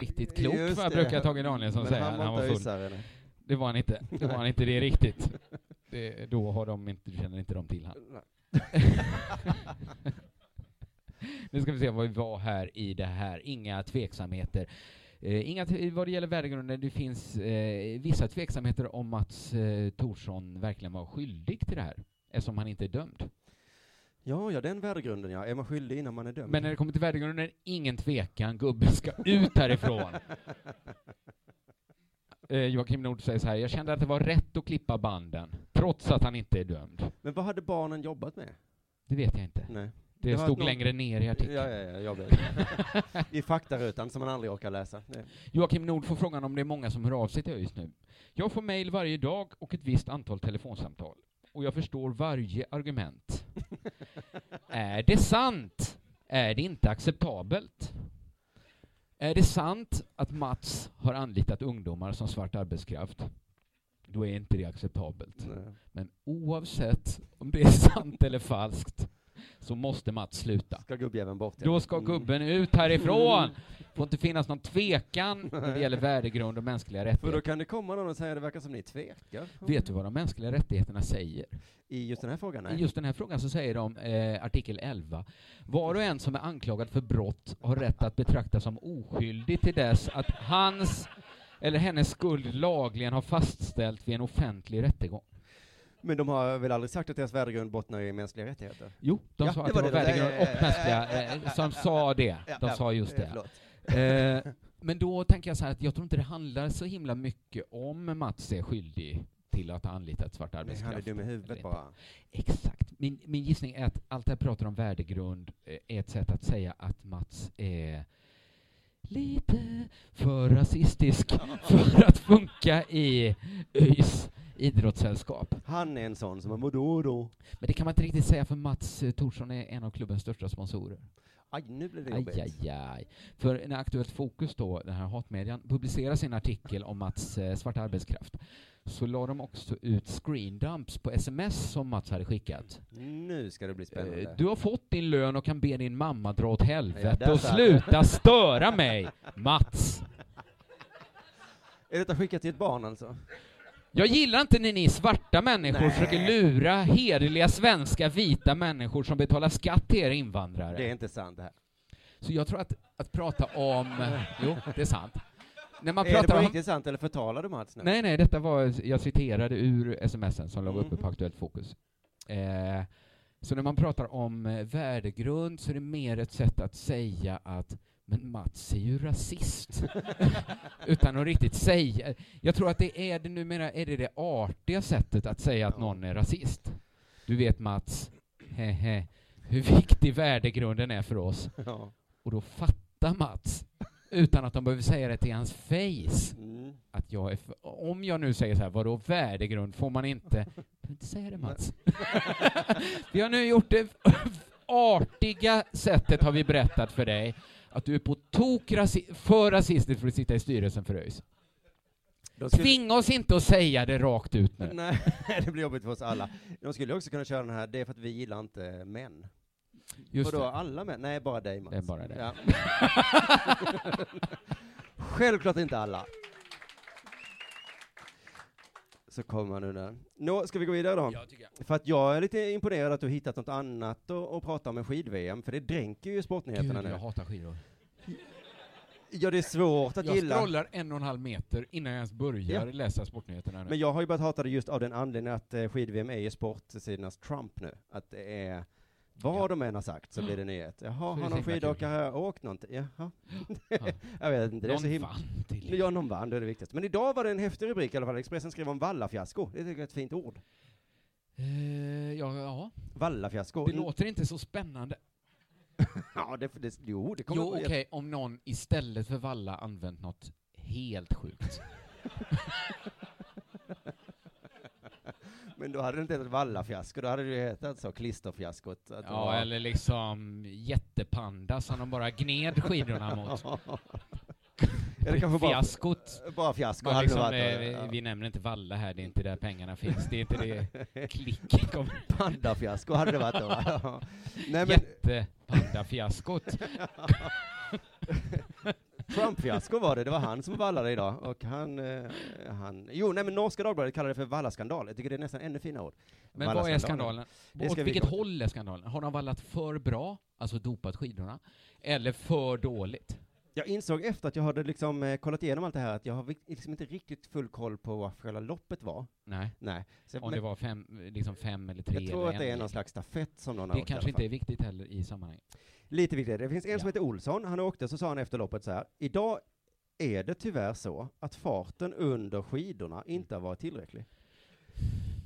Riktigt klok Just vad jag det. brukar Tage Danielsson Men säga. han när var han inte var ösare, full. eller? Det var han inte. Det var han inte det är riktigt. Det, då har de inte, känner inte de till han. [LAUGHS] nu ska vi se vad vi var här i det här. Inga tveksamheter. Eh, inga t- vad det gäller värdegrunden, det finns eh, vissa tveksamheter om Mats eh, Thorsson verkligen var skyldig till det här, eftersom han inte är dömd. Ja, ja, den värdegrunden ja. Är man skyldig innan man är dömd? Men när det kommer till värdegrunden, ingen tvekan, gubben ska ut [LAUGHS] härifrån. Eh, Joakim Nord säger så här, jag kände att det var rätt att klippa banden, trots att han inte är dömd. Men vad hade barnen jobbat med? Det vet jag inte. Nej. Det har stod Mm. någon- längre ner i artikeln. Ja, ja, ja, [LAUGHS] jag blev- I faktarutan som man aldrig orkar läsa. Nej. Joakim Nord får frågan om det är många som hör av sig till ÖIS nu. Jag får mejl varje dag och ett visst antal telefonsamtal. Och jag förstår varje argument. är det sant? Är det inte acceptabelt? Är det sant att Mats har anlitat ungdomar som svart arbetskraft? Då är inte det acceptabelt. Men oavsett om det är [LAUGHS] sant eller falskt så måste Mats sluta. Ska gubbjäveln bort? ja. Då ska gubben ut härifrån! får inte finnas någon tvekan när det gäller värdegrund och mänskliga Mm. För då rättigheter. kan det komma någon och säga det verkar som ni tvekar. Vet du vad de mänskliga rättigheterna säger? I just den här frågan? I Nej. just den här frågan så säger de, eh, artikel 11, var och en som är anklagad för brott har rätt att betraktas som oskyldig till dess att hans eller hennes skuld lagligen har fastställt vid en offentlig rättegång. Men de har väl aldrig sagt att deras värdegrund bottnar i mänskliga rättigheter? Jo, de Ja, sa att det var, de- värdegrund Ja, ja, och ja, ja, ja, mänskliga, ja, eh, ja, som ja, sa ja, det. ja, De ja, sa just eh, det. förlåt. Eh, men då tänker jag så här att jag tror inte det handlar så himla mycket om Mats är skyldig till att ha anlitat svart Nej, arbetskraft. han är dum i huvudet bara. Exakt. Min, min gissning är att allt det här pratar om värdegrund eh, är ett sätt att säga att Mats är lite för rasistisk [LAUGHS] för att funka i ÖIS idrottssällskap. Han är en sån som man då och då. Men det kan man inte riktigt säga för Mats eh, Thorsson är en av klubbens största sponsorer. Aj, nu blev det Aj, jobbigt. aj, aj. För när Aktuellt Fokus, då, den här hatmedian, publicerar sin artikel om Mats eh, svarta arbetskraft så la de också ut screendumps på sms som Mats hade skickat. Nu ska det bli spännande. Eh, Du har fått din lön och kan be din mamma dra åt helvete där och satt sluta det. störa mig, Mats. Är detta skickat till ett barn alltså? Jag gillar inte när ni svarta människor Nej. försöker lura hederliga svenska vita människor som betalar skatt till er invandrare. Det är inte sant det här. Så jag tror att, att prata om... jo, det är sant. När man är det på pratar om... riktigt sant eller förtalar du Mats nu? Nej, nej, detta var... Jag citerade ur smsen som låg uppe på Aktuellt Fokus. Eh, så när man pratar om eh, värdegrund så är det mer ett sätt att säga att men Mats är ju rasist. Utan att riktigt säga. Jag tror att det är det numera, är det det artiga sättet att säga att någon är rasist. Du vet Mats, hehe, hur viktig värdegrunden är för oss. Ja. Och då fattar Mats, utan att de behöver säga det till hans face, Mm. att jag är för, om jag nu säger så här, vadå värdegrund, får man inte, behöver inte säga det Mats. [LAUGHS] vi har nu gjort det artiga sättet har vi berättat för dig, att du är på tok rasi- för rasistisk för att sitta i styrelsen för ÖIS. De skulle- Tvinga oss inte att säga det rakt ut nu. Nej, [LAUGHS] det blir jobbigt för oss alla. De skulle ju också kunna köra den här, det är för att vi gillar inte män. Just Vadå, det. alla män? Nej, bara dig Mats. Det är bara dig. [LAUGHS] Ja. Självklart inte alla. Så kommer han nu där. Nå, ska vi gå vidare då? För att jag är lite imponerad att du har hittat något annat att, att prata om än skid-VM, för det dränker ju Gud, sportnyheterna nu. jag hatar skidor. Ja, det är svårt att Jag gilla. scrollar en och en halv meter innan jag ens börjar Ja. läsa sportnyheterna nu. Men jag har ju börjat hata det just av den anledningen att eh, skid-VM är ju sportsidornas Trump nu. Att det är vad de än har sagt så blir det nyhet. är Jaha, det har så någon himla skidåkare här åkt någonting? Jaha. jag vet inte, [LAUGHS] det är Någon så himla... vann till. Ja, någon vann, det är det viktigaste. Men idag var det en häftig rubrik i alla fall. Expressen skrev om vallafiasko. Det tycker jag är ett fint ord. Eh, ja, ja. Vallafiasko. Det Mm. låter inte så spännande. Ja, det, det, jo, det kommer... Jo, okej, om någon istället för valla använt något helt [LAUGHS] sjukt. Men då hade det inte hetat vallafiasko, då hade det ju hetat så, klisterfiaskot. Att det ja, var- eller liksom jättepanda som de bara gned skidorna [LAUGHS] mot. Eller kanske bara- Fiaskot. bara fiasko Man hade liksom, det varit, eh, vi, ja. vi nämner inte valla här, det är inte där pengarna finns. Det är inte [LAUGHS] det klick kommer. Pandafiasko hade det varit då, va? [LAUGHS] Ja. Nej, men- [LAUGHS] Jättepandafiaskot. Trump-fiasko var det, det var han som vallade idag. Och han, eh, han... Jo, nej men Norska Dagbladet kallar det för vallaskandal. Jag tycker det är nästan ännu finare ord. Men vad är Vallaskandalen. skandalen? Det Åt ska vi vilket gå- håll är skandalen? Har de vallat för bra, alltså dopat skidorna, eller för dåligt? Jag insåg efter att jag hade liksom eh, kollat igenom allt det här att jag har vi- liksom inte riktigt full koll på vad själva loppet var. Nej. Nej. Så- Om men- det var fem, liksom fem eller tre Jag tror eller att det en. är någon slags stafett som någon har Det åkt i alla kanske inte fall. är viktigt heller i sammanhanget. Lite viktigare. Det finns en som heter Olsson, han åkte, så sa han efter loppet så här. Idag är det tyvärr så att farten under skidorna inte har varit tillräcklig.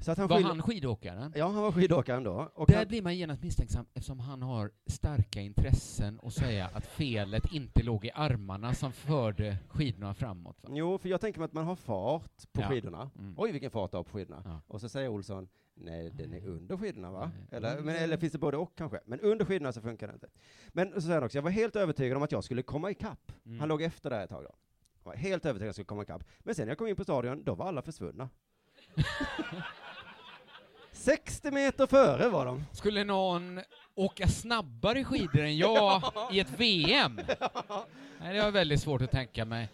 Så att han var skyller- han skidåkaren? Ja, han var skidåkaren då. Och Där han- blir man genast misstänksam eftersom han har starka intressen och säga att felet inte låg i armarna som förde skidorna framåt. Va? Jo, för jag tänker mig att man har fart på Ja. skidorna. Mm. Oj, vilken fart du har på skidorna. Och så säger Olsson, nej, den är under skidorna va? Eller, Mm. men, eller finns det både och kanske? Men under skidorna så funkar det inte. Men så säger han också, jag var helt övertygad om att jag skulle komma ikapp. Mm. Han låg efter där ett tag då. Jag var helt övertygad om att jag skulle komma ikapp. Men sen när jag kom in på stadion, då var [LAUGHS] alla försvunna. 60 meter före var de. Skulle någon åka snabbare skidor än [LAUGHS] jag i ett VM? Nej, det har jag väldigt svårt att tänka mig.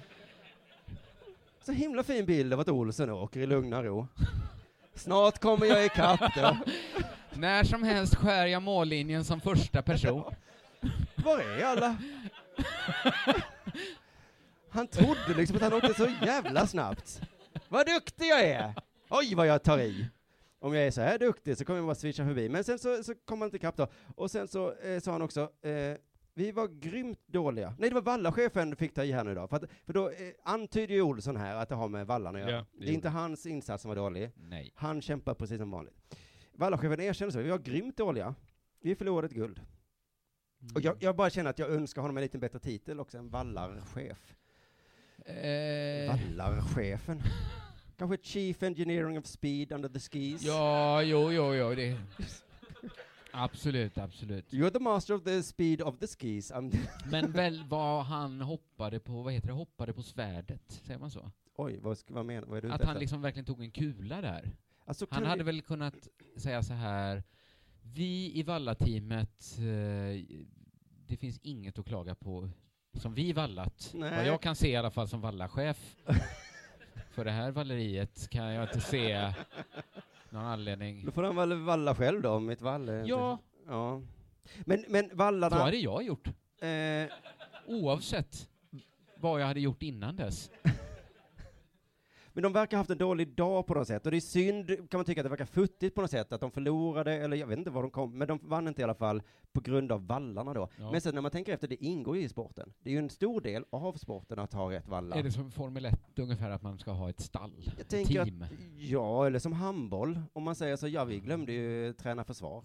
Så himla fin bild av att Olsson åker i lugna ro. Snart kommer jag ikapp då. När som helst skär jag mållinjen som första person. Var är alla? Han trodde liksom att han åkte så jävla snabbt. Vad duktig jag är! Oj, vad jag tar i. Om jag är så här duktig så kommer jag bara swisha förbi. Men sen så, så kom han inte ikapp då. Och sen så eh, sa han också, eh, vi var grymt dåliga. Nej, det var Vallachefen fick ta i här nu då. För, att, för då eh, antyder ju Olsson här att det har med Vallan att göra. Ja, det det är gjorde inte hans insats som var dålig. Nej. Han kämpar precis som vanligt. Vallachefen erkänner så, vi var grymt dåliga. Vi förlorade ett guld. Och jag, jag bara känner att jag önskar honom en lite bättre titel också, en vallarchef. Eh, [LAUGHS] Vallarchefen. Kanske Chief Engineering of Speed Under the Skis. ja, jo, jo, jo, det... Absolut, absolut. You're the master of the speed of the [LAUGHS] skis. I'm Men väl vad han hoppade på, vad heter det, hoppade på svärdet, säger man så? Oj, vad, sk- vad menar vad är du ute Att han efter? liksom verkligen tog en kula där. Alltså, han kan hade vi- väl kunnat säga så här, vi i Valla-teamet, eh, det finns inget att klaga på som vi vallat. Nej. Vad jag kan se i alla fall som [LAUGHS] vallachef för det här valleriet kan jag inte se någon anledning. Då får han väl valla själv då, om mitt vall är inte- Ja. ja. Men, men vallarna... Så hade jag gjort. Eh, Oavsett vad jag hade gjort innan dess. Men de verkar ha haft en dålig dag på något sätt, och det är synd, kan man tycka, att det verkar futtigt på något sätt, att de förlorade, eller jag vet inte var de kom, men de vann inte i alla fall på grund av vallarna då. Ja. Men sen när man tänker efter, det ingår ju i sporten. Det är ju en stor del av sporten att ha rätt vallar. Är det som Formel 1 ungefär, att man ska ha ett stall, jag ett tänker team? Att, ja, eller som handboll, om man säger så, ja vi glömde ju träna försvar.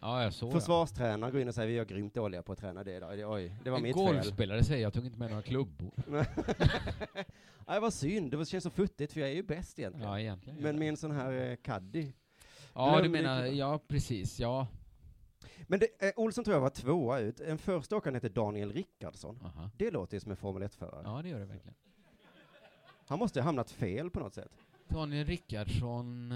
Ja, jag såg Försvarstränaren går in och säger vi är grymt dåliga på att träna det idag. Det- Oj, det var en mitt fel. golfspelare säger jag tog inte med några klubbor. [LAUGHS] Nej, vad synd, det känns så futtigt för jag är ju bäst egentligen. Ja, egentligen. Men min sån här eh, caddy. Ja, du glömde menar, klubban. ja precis, ja. Men det, eh, Olsson tror jag var tvåa ut. En första åkaren heter Daniel Rickardsson. Det låter ju som en Formel 1-förare. Ja, det gör det verkligen. Han måste ju ha hamnat fel på något sätt. Daniel Rickardsson,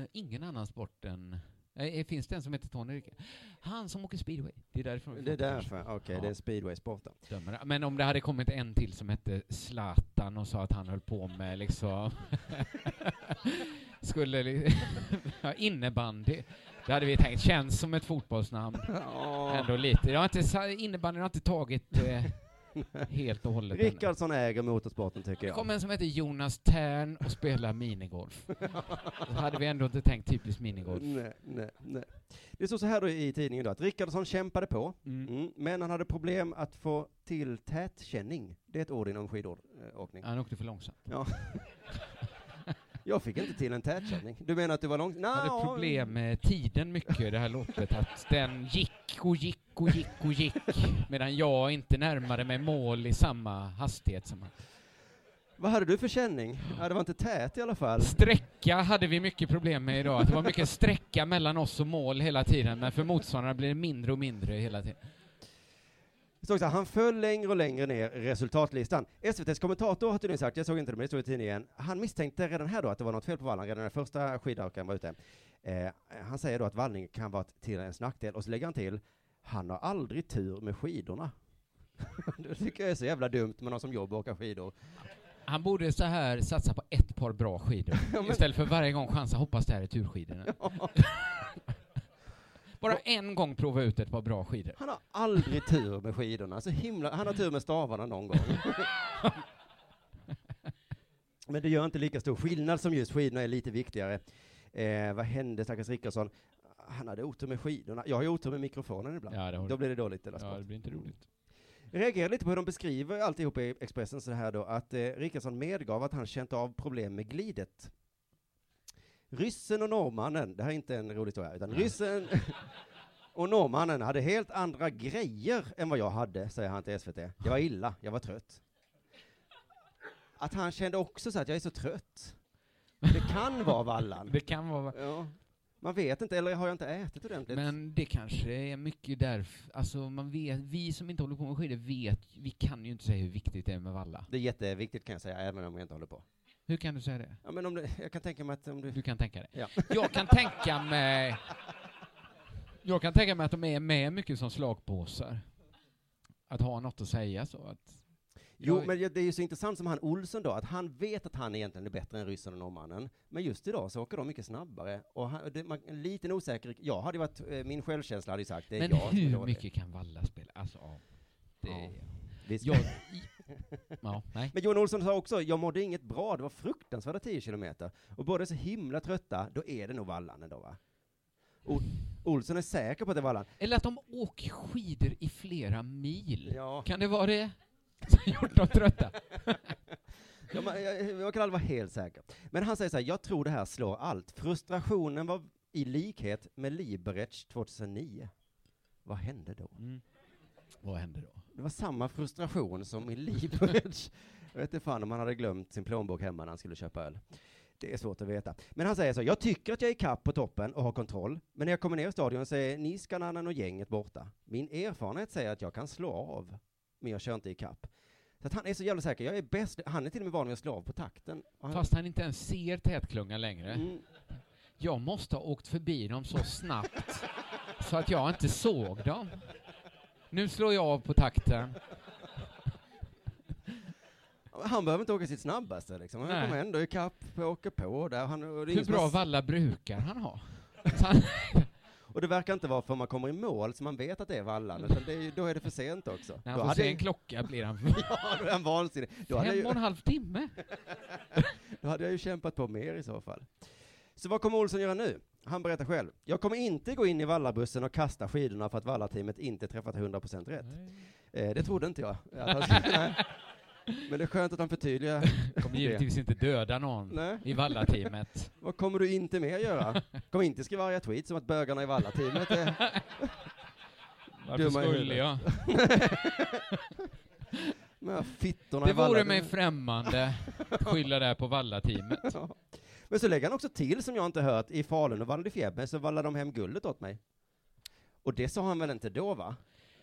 eh, ingen annan sport än... Nej, eh, finns det en som heter Tony Rickardsson? Han som åker speedway. Det är därför Det är därför, okej, det är en speedway-sport då. Dömer. Men om det hade kommit en till som hette Zlatan och sa att han höll på med liksom... [LAUGHS] skulle... li- [LAUGHS] ja, innebandy. Det hade vi tänkt, känns som ett fotbollsnamn. Ja. Ändå lite. Jag har inte, sa- innebandyn har inte tagit eh, helt och hållet än. Rickardsson äger motorsporten tycker Det jag. kom en som hette Jonas Tern och spelar minigolf. Då hade vi ändå inte tänkt typiskt minigolf. Nej, nej, nej. Det står så här då i tidningen då, att Rickardsson kämpade på, mm, men han hade problem att få till tätkänning. Det är ett ord inom skidåkning. Han åkte för långsamt. Ja. jag fick inte till en tätkänning. Du menar att du var lång? Nå, Han hade problem med tiden mycket, det här loppet, att den gick och gick och gick och gick, medan jag inte närmade mig mål i samma hastighet som han. Vad hade du för känning? Ja, det var inte tät i alla fall. Sträcka hade vi mycket problem med idag, att det var mycket sträcka mellan oss och mål hela tiden, men för motståndarna blir det mindre och mindre hela tiden. Det stod så här, han föll längre och längre ner i resultatlistan. SVTs kommentator har tydligen sagt, jag såg inte det men det stod i tidningen, han misstänkte redan här då att det var något fel på vallan redan när första skidåkaren var ute. Eh, han säger då att vallning kan vara till ens nackdel och så lägger han till, han har aldrig tur med skidorna. [LAUGHS] det tycker jag är så jävla dumt med någon som jobbar och åker skidor. Han borde så här satsa på ett par bra skidor istället för varje gång chansa hoppas det här är turskidorna. [LAUGHS] Bara en gång prova ut ett par bra skidor. Han har [LAUGHS] aldrig tur med skidorna, så himla, han har tur med stavarna någon gång. Men det gör inte lika stor skillnad som just skidorna är lite viktigare. Eh, vad hände stackars Rickardsson? Han hade otur med skidorna. Jag har ju otur med mikrofonen ibland. Ja, det har du. Då blir det dåligt. Eller Ja, det blir inte roligt. jag reagerar lite på hur de beskriver alltihop i Expressen så här då, att eh, Rickardsson medgav att han känt av problem med glidet. Ryssen och norrmannen, det här är inte en rolig historia, utan ryssen och norrmannen hade helt andra grejer än vad jag hade, säger han till SVT. Jag var illa, jag var trött. Att han kände också så att jag är så trött. Det kan vara vallan. Det kan vara... Ja. Man vet inte, eller har jag inte ätit ordentligt? Men det kanske är mycket därför, alltså man vet, vi som inte håller på med skidor vet, vi kan ju inte säga hur viktigt det är med valla. Det är jätteviktigt kan jag säga, även om jag inte håller på. Hur kan du säga det? Ja, men om det, jag kan tänka mig att om du... Du kan tänka dig. Ja. Jag kan tänka mig... Jag kan tänka mig att de är med mycket som slagpåsar. Att ha något att säga så att... Jo, Jag- men det är ju så intressant som han Olsson då, att han vet att han egentligen är bättre än ryssen och norrmannen, men just idag så åker de mycket snabbare. Och han, det, man, en liten osäker, jag hade varit, eh, min självkänsla hade ju sagt det är Men jag som är hur dålig. mycket kan valla spela? Alltså, ja. Det... Ja. Visst. Jag... Ja, nej. Men Johan Olsson sa också, jag mådde inget bra, det var fruktansvärda 10 kilometer. Och båda är så himla trötta, då är det nog vallan ändå va? O- Olsson är säker på att det är vallan. Eller att de åker skidor i flera mil. Ja. Kan det vara det som gjort dem trötta? Ja, men jag, jag kan aldrig vara helt säker. Men han säger så här, jag tror det här slår allt. Frustrationen var i likhet med Liberec 2009. Vad hände då? Mm. Vad hände då? Det var samma frustration som i Liberec. [LAUGHS] jag vet inte fan om han hade glömt sin plånbok hemma när han skulle köpa öl. Det är svårt att veta. Men han säger så, jag tycker att jag är kapp på toppen och har kontroll, men när jag kommer ner i stadion så är Niskanen och gänget borta. Min erfarenhet säger att jag kan slå av, men jag kör inte i kapp. Så att han är så jävla säker, jag är bäst, han är till och med van vid att slå av på takten. Och han- Fast han inte ens ser tätklungan längre. Mm. Jag måste ha åkt förbi dem så snabbt så att jag inte såg dem. Nu slår jag av på takten. Han behöver inte åka sitt snabbaste liksom. Han Nej. kommer ändå ikapp, åker på där. Han, och det är ingen Hur som bra har- valla brukar han [LAUGHS] ha? Så han- Och det verkar inte vara för man kommer i mål som man vet att det är vallan, utan det är, ju- då är det för sent också. När Då han får hade se jag- en klocka blir han... [LAUGHS] Ja, då är han vansinnig. Då hade, jag Fem och en ju, halv [LAUGHS] timme? då hade jag ju kämpat på mer i så fall. Så vad kommer Olsson göra nu? Han berättar själv. Jag kommer inte gå in i vallabussen och kasta skidorna för att vallateamet inte träffat 100% rätt. Eh, det trodde inte jag. [LAUGHS] Att han skulle, nej. Men det är skönt att han förtydligar. Kommer det. givetvis inte döda någon Nej. i vallateamet. Vad kommer du inte [LAUGHS] mer göra? Kom inte skriva arga tweets om att bögarna i Valla-teamet är Varför dumma i skulle jag? huvudet. Men jag fittorna i Det Valla- vore mig främmande att skylla det här på vallateamet. Ja. Men så lägger han också till, som jag inte hört, i Falun och Valla Fjäbbe så vallade de hem guldet åt mig. Och det sa han väl inte då, va?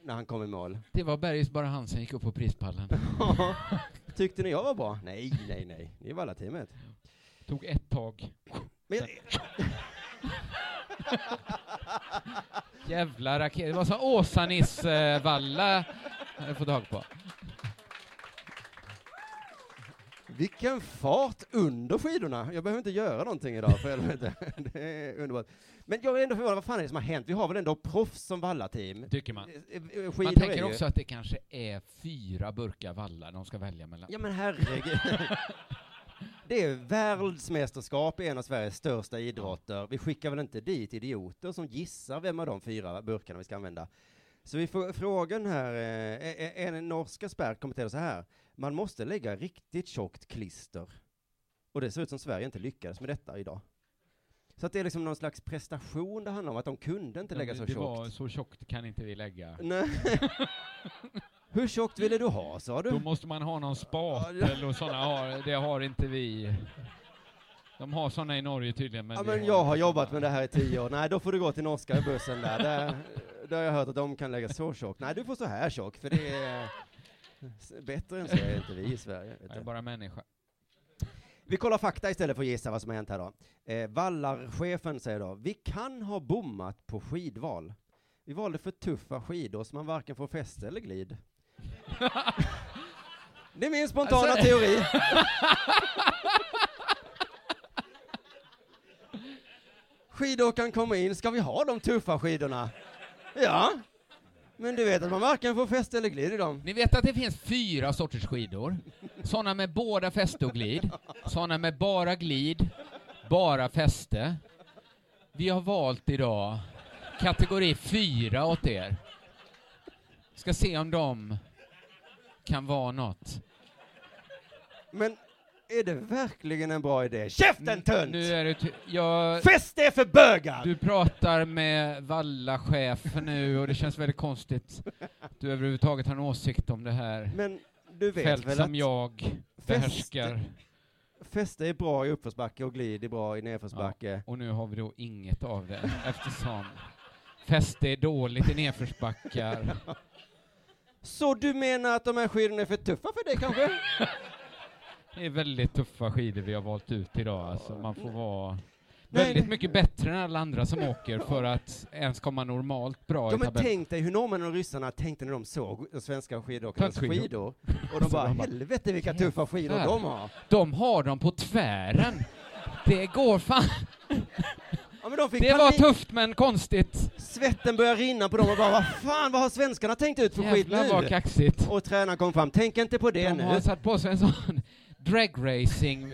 När han kom i mål. Det var Bergis bara han som gick upp på prispallen. Tyckte ni jag var bra? Nej, nej, nej. Ni är Valla-teamet. Tog ett tag. Men Jävla raket. Det var som Åsa-Nisse-valla jag får tag på. Vilken fart under skidorna! Jag behöver inte göra någonting idag, för helvete. [LAUGHS] Det är underbart. Men jag är ändå förvånad, vad fan är det som har hänt? Vi har väl ändå proffs som vallateam? Eh, Tycker man. Skidor Man är tänker ju- också att det kanske är fyra burkar valla de ska välja mellan. Ja men herregud. [LAUGHS] Det är världsmästerskap i en av Sveriges största idrotter. Vi skickar väl inte dit idioter som gissar vem av de fyra burkarna vi ska använda. Så vi får frågan här, eh, eh, en norsk expert kommenterar så här. Man måste lägga riktigt tjockt klister. Och det ser ut som Sverige inte lyckades med detta idag. Så att det är liksom någon slags prestation det handlar om, att de kunde inte lägga det, så det tjockt. Var, så tjockt kan inte vi lägga. [LAUGHS] Nej. Hur tjockt ville du ha, sa du? Då måste man ha någon spatel och sådana har, det har inte vi. De har sådana i Norge tydligen. Men Ja, vi men inte jag har såna. jobbat med det här i tio år. Nej, då får du gå till norska i bussen där. Där, där har jag hört att de kan lägga så tjockt. Nej, du får så här tjock, för det är s- bättre än så är inte vi i Sverige. Vet Jag är du. bara människa. Vi kollar fakta istället för att gissa vad som har hänt här då. Eh, Vallarchefen säger då, vi kan ha bommat på skidval. Vi valde för tuffa skidor så man varken får fäste [LAUGHS] eller glid. det är min spontana Alltså- teori. [LAUGHS] Skidåkaren kommer in, ska vi ha de tuffa skidorna? Ja. Men du vet att man varken får fäste eller glid i dem. Ni vet att det finns fyra sorters skidor. Såna med båda fäste och glid. Såna med bara glid, bara fäste. Vi har valt idag kategori fyra åt er. Ska se om de kan vara något. Men Är det verkligen en bra idé? Käften tönt! Nu är det ty- jag... Fäst det för bögar! Du pratar med Valla-chefen nu och det känns väldigt konstigt att du överhuvudtaget har en åsikt om det här. Men du vet Fält väl som att jag behärskar. Fäste är bra i uppförsbacke och glid är bra i nedförsbacke. och nu har vi då inget av det eftersom fäste är dåligt i nedförsbackar. Så du menar att de här skidorna är för tuffa för dig kanske? Det är väldigt tuffa skidor vi har valt ut idag. Alltså, man får vara Nej, väldigt det- mycket bättre än alla andra som åker för att ens komma normalt bra ja, i men tabellen. tänk dig hur norrmännen och ryssarna tänkte när de såg de svenska skidåkarnas skidor. Tältskidor. Och [LAUGHS] de bara, helvete vilka tuffa skidor Jävlar. de har. De har dem på tvären. Det går fan. Ja, men de fick Det var panik. tufft men konstigt. Svetten börjar rinna på dem och bara, vad fan, vad har svenskarna tänkt ut för skit nu? Jävlar vad kaxigt. Och tränaren kom fram, tänk inte på det De nu. har satt på sig en sån [LAUGHS] dragracing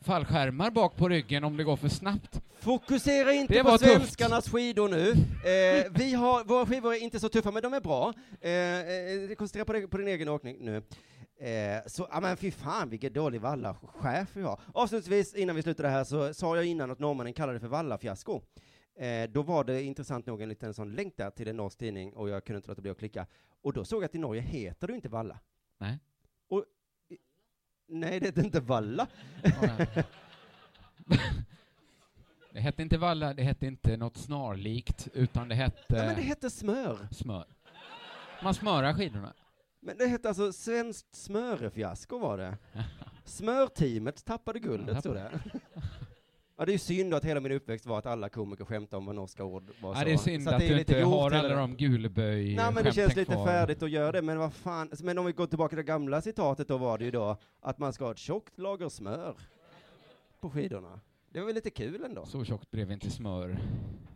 fallskärmar bak på ryggen om det går för snabbt. Fokusera inte Det på var tufft. svenskarnas skidor nu. Eh, vi har, våra skivor är inte så tuffa, men de är bra. Eh, eh, koncentrera på, dig, på din egen åkning nu. Eh, så, ja men fy fan vilken dålig vallachef vi har. Avslutningsvis, innan vi slutar det här, så sa jag innan att norrmännen kallade det för vallafiasko. Eh, då var det intressant nog en liten sån länk där till en norsk tidning, och jag kunde inte låta bli att klicka. Och då såg jag att i Norge heter du inte valla. Nej. Och, i- nej, det heter inte valla. Det hette inte valla, det hette inte något snarlikt, utan det hette... Nej, men det hette smör. Smör. Man smörar skidorna. Men det hette alltså Svenskt smörfiasko [LAUGHS] var det. Smörteamet tappade guldet, Ja, stod det. [LAUGHS] tappade. Ja, det är ju synd att hela min uppväxt var att alla komiker skämtade om vad norska ord var. Ja, så. det är synd så att det är du lite inte grovt har hela alla det. de gulböj Nej, men det känns lite färdigt att göra det, men vad fan. Men om vi går tillbaka till det gamla citatet, då var det ju då att man ska ha ett tjockt lager smör på skidorna. Det var väl lite kul ändå. Så tjockt blev inte smör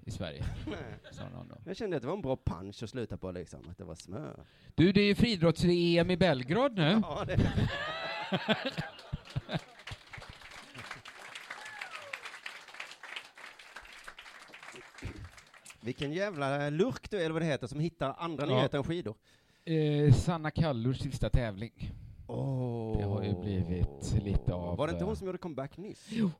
i Sverige, Nej. sa någon då. Jag kände att det var en bra punch att sluta på liksom, att det var smör. Du, det är ju friidrotts-EM i Belgrad nu. Ja, det- Vilken jävla lurk du är, eller vad det heter, som hittar andra Ja. nyheter än skidor. Eh, Sanna Kallurs sista tävling. Oh. Det har ju blivit lite av... Var det inte eh, hon som gjorde comeback nyss? Jo.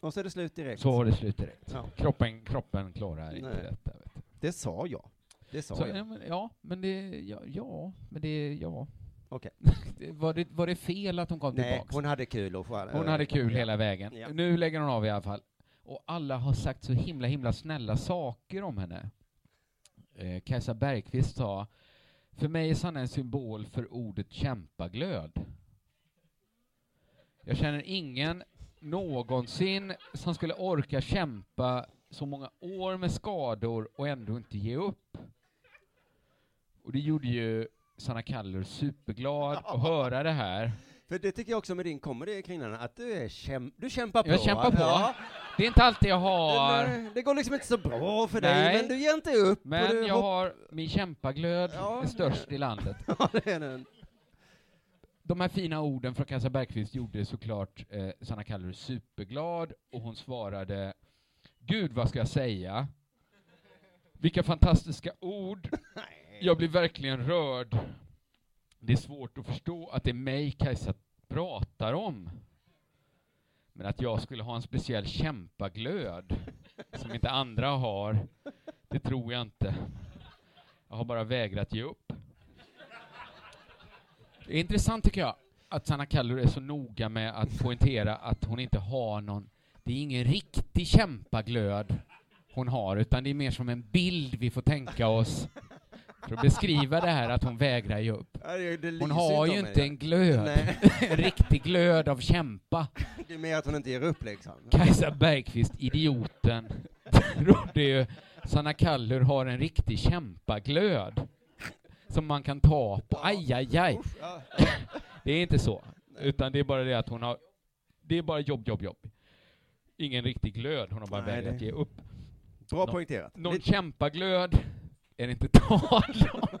Och så är det slut direkt. Så var det slut direkt. Ja. Kroppen, kroppen klarar inte Nej. detta. Vet du. Det sa jag. Det sa Så, jag. ja, men, ja, men det... Ja, ja men det... Ja. Okej. [LAUGHS] Det- Var, det, var det fel att hon kom Nej, tillbaks? hon hade kul och skär- Hon hade kul Eh, Ja. hela vägen. Ja. Nu lägger hon av i alla fall. Och alla har sagt så himla, himla snälla saker om henne. Eh, Kajsa Bergqvist sa För mig är Sanna en symbol för ordet kämpaglöd. Jag känner ingen någonsin som skulle orka kämpa så många år med skador och ändå inte ge upp. Och det gjorde ju Sanna Kallur superglad att höra det här. För det tycker jag också med din comedy, Kringlan, att du, är käm- du kämpar på. Jag kämpar på. Ja. Det är inte alltid jag har... Det, det går liksom inte så bra för dig, Nej. men du ger inte upp. och Men du jag hopp- har min kämpaglöd, Ja. är störst i landet. Ja, det är den. De här fina orden från Kajsa Bergqvist gjorde såklart eh, Sanna Kallur superglad och hon svarade Gud vad ska jag säga? Vilka fantastiska ord! Jag blir verkligen rörd. Det är svårt att förstå att det är mig Kajsa pratar om. Men att jag skulle ha en speciell kämpaglöd som inte andra har, det tror jag inte. Jag har bara vägrat ge upp. Det är intressant tycker jag att Sanna Kallur är så noga med att poängtera att hon inte har någon, det är ingen riktig kämpaglöd hon har, utan det är mer som en bild vi får tänka oss för att beskriva det här att hon vägrar ge upp. Ja, det- det Hon lyser har om ju mig, inte ja. en glöd, Nej. [LAUGHS] en riktig glöd av kämpa. Det är mer att hon inte ger upp liksom. Kajsa Bergqvist, idioten, [LAUGHS] trodde ju Sanna Kallur har en riktig kämpaglöd som man kan ta på. Aj, aj, aj. Ja. [LAUGHS] Det är inte så, utan det är bara det att hon har... Det är bara jobb, jobb, jobb. Ingen riktig glöd, hon har bara Nej, vägrat det- ge upp. Bra Nå- poängterat. Någon Lite- kämpaglöd är det inte tal om.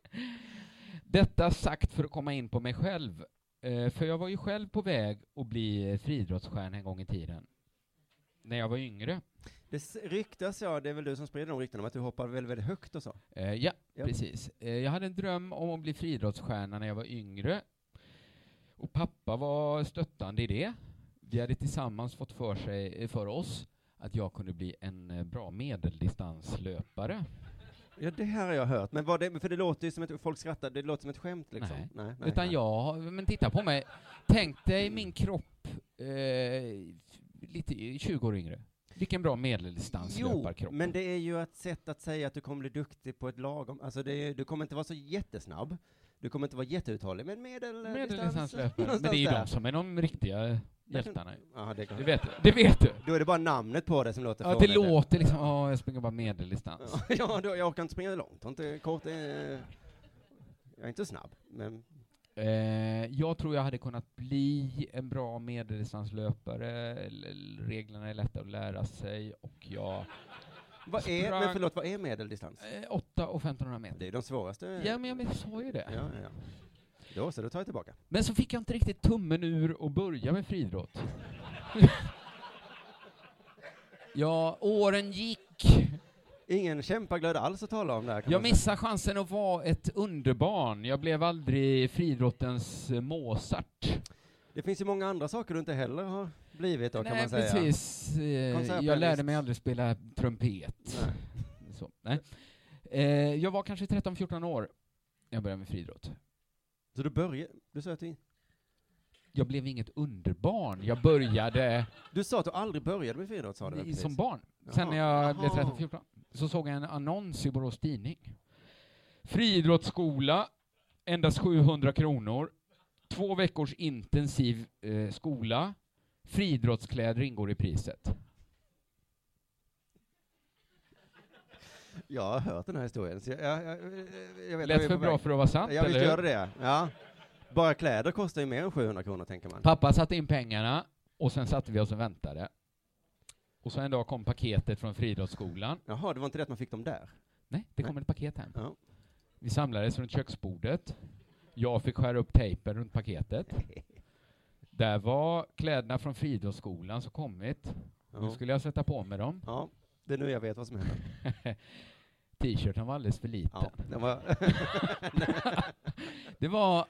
[LAUGHS] Detta sagt för att komma in på mig själv. Eh, för jag var ju själv på väg att bli eh, friidrottsstjärna en gång i tiden. När jag var yngre. Det s- ryktas, ja, det är väl du som sprider de ryktena, om att du hoppar väldigt, väldigt högt och så. Eh, ja, Ja. precis. Eh, jag hade en dröm om att bli friidrottsstjärna när jag var yngre. Och pappa var stöttande i det. Vi hade tillsammans fått för, sig, för oss att jag kunde bli en eh, bra medeldistanslöpare. Ja, det här har jag hört. Men vad det, för det låter ju som att folk skrattar, det låter som ett skämt liksom. Nej. Utan jag har- men titta på mig. Tänk dig min kropp eh, lite 20 år yngre. Vilken bra Jo, medeldistanslöparkropp. men det är ju ett sätt att säga att du kommer bli duktig på ett lagom, alltså det är, du kommer inte vara så jättesnabb, du kommer inte vara jätteuthållig, men medel... Medeldistanslöpare. Men det är ju de som är de riktiga hjältarna. Ja, det, det vet du. Det vet du. Då är det bara namnet på det som låter Ja, det förvånande. låter liksom, ja, jag springer bara medeldistans. [LAUGHS] ja, då, jag orkar inte springa långt, jag är inte kort, eh, jag är inte snabb, men Eh, jag tror jag hade kunnat bli en bra medeldistanslöpare. L- l- Reglerna är lätta att lära sig och jag... vad är, men förlåt, vad är medeldistans? Eh, 8 och 1500 meter. Det är de svåraste. Ja, men jag men- sa ju det. Ja, ja, ja. Då så, då tar jag tillbaka. Men så fick jag inte riktigt tummen ur och börja med friidrott. [LAUGHS] ja, åren gick. Ingen kämpaglöd alls att tala om där. Jag missade chansen att vara ett underbarn. Jag blev aldrig friidrottens eh, Mozart. Det finns ju många andra saker du inte heller har blivit då, kan Nej, man säga. precis. Eh, Jag lärde mig aldrig spela trumpet. Så, nej. Eh, jag var kanske 13-14 år när jag började med friidrott. Så du började, du sa att du... Jag blev inget underbarn. Jag började... Du sa att du aldrig började med friidrott, sa du väl I- precis? Som barn. Sen när Jaha. jag blev Jaha. 13-14 så såg jag en annons i Borås Tidning. Friidrottsskola, endast 700 kronor. Två veckors intensiv eh, skola. Friidrottskläder ingår i priset. Jag har hört den här historien, så jag, jag, jag, jag vet Lät vi är för på bra väg. för att vara sant, Ja, visst eller gör hur? det. Ja. Bara kläder kostar ju mer än 700 kronor, tänker man. Pappa satte in pengarna och sen satte vi oss och väntade. Och så en dag kom paketet från friidrottsskolan. Jaha, det var inte det att man fick dem där? Nej, det kom ett paket hem. Vi samlades runt köksbordet. Jag fick skära upp tejpen runt paketet. Där var kläderna från friidrottsskolan som kommit. Ja. Nu skulle jag sätta på mig dem. Ja, det är nu jag vet [LAUGHS] vad som händer. T-shirten var alldeles för liten. den var- [LAUGHS] det, var,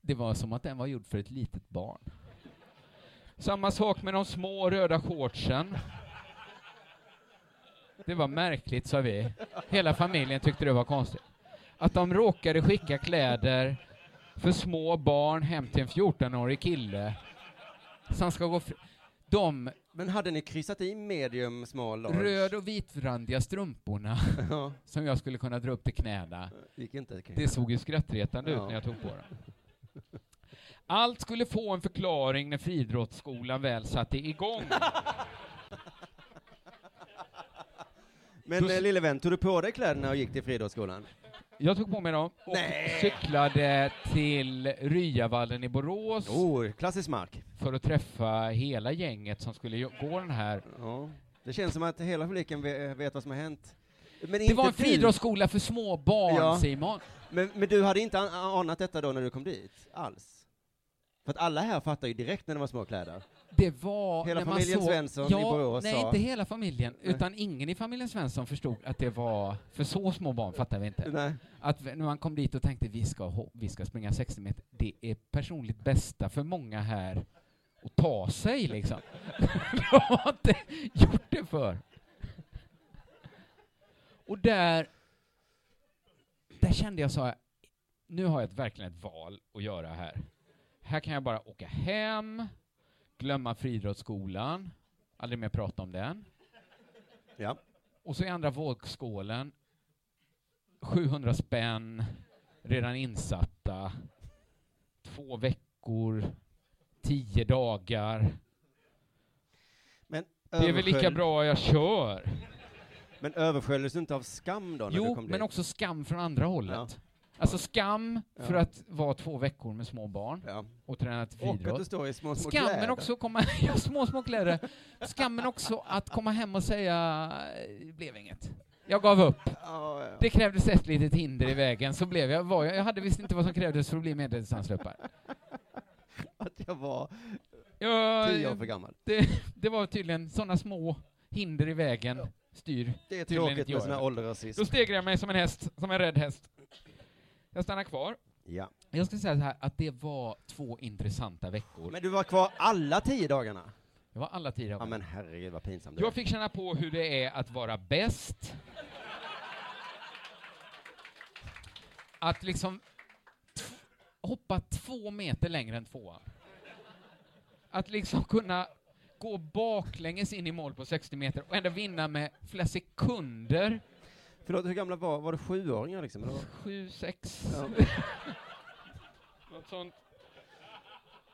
det var som att den var gjord för ett litet barn. Samma sak med de små röda shortsen. Det var märkligt, sa vi. Hela familjen tyckte det var konstigt. Att de råkade skicka kläder för små barn hem till en 14-årig kille som ska gå... Fri- de Men hade ni kryssat i medium, small, large? röd och vitrandiga strumporna som jag skulle kunna dra upp till knäna. Gick inte, kan jag- Det såg ju skrattretande ut Ja. när jag tog på dem. Allt skulle få en förklaring när friidrottsskolan väl satte igång. Men eh, lille vän, tog du på dig kläderna och gick till friidrottsskolan? Jag tog på mig dem och cyklade till Ryavallen i Borås. Oh, klassisk mark. För att träffa hela gänget som skulle jo- gå den här. Det känns som att hela publiken ve- vet vad som har hänt. Men Det inte var en du. friidrottsskola för små barn, Ja. Simon. Men, men du hade inte an- anat detta då när du kom dit? Alls? För att alla här fattar ju direkt när det var små kläder. Det var Hela när man familjen såg, Svensson i ja, Borås Nej, sa- inte hela familjen, Nej. utan ingen i familjen Svensson förstod att det var, för så små barn fattar vi inte. Nej. Att v- när man kom dit och tänkte vi ska, ho- vi ska springa 60 meter, det är personligt bästa för många här att ta sig liksom. [LAUGHS] De har inte gjort det för. Och där, där kände jag så här, nu har jag ett, verkligen ett val att göra här. Här kan jag bara åka hem, glömma friidrottsskolan, aldrig mer prata om den. Ja. Och så i andra vågskålen, 700 spänn, redan insatta, två veckor, tio dagar. Men Det är väl lika överskölj- bra jag kör. Men översköljdes du inte av skam då när du Jo, kom men dit? också skam från andra hållet. Alltså skam Ja. för att vara två veckor med små barn och träna till Och att friidrott. du står i små, små skam, men kläder. också komma, [LAUGHS] ja, små, små kläder. Skam, men också att komma hem och säga, "Eh, det blev inget. Jag gav upp. Det krävdes ett litet hinder i vägen, så blev jag, var jag, jag hade visst inte vad som krävdes för att bli medeldistanslöpare. Att jag var Jag- tio år för gammal. Det, det var tydligen sådana små hinder i vägen styr Det är tydligen tråkigt inte med jag sån här över. ålderrasism. Då stegrar jag mig som en häst, som en rädd häst. Jag stannar kvar. Ja. Jag ska säga så här, att det var två intressanta veckor. Men du var kvar alla tio dagarna? Jag var alla tio dagarna. Ja men herregud vad pinsamt det var. Jag fick känna på hur det är att vara bäst. Att liksom t- hoppa två meter längre än tvåan. Att liksom kunna gå baklänges in i mål på 60 meter och ändå vinna med flera sekunder. Förlåt, hur gamla var Var det sjuåringar [LAUGHS] liksom? Eller? vad? Sju, sex. Ja. [LAUGHS] Något sånt.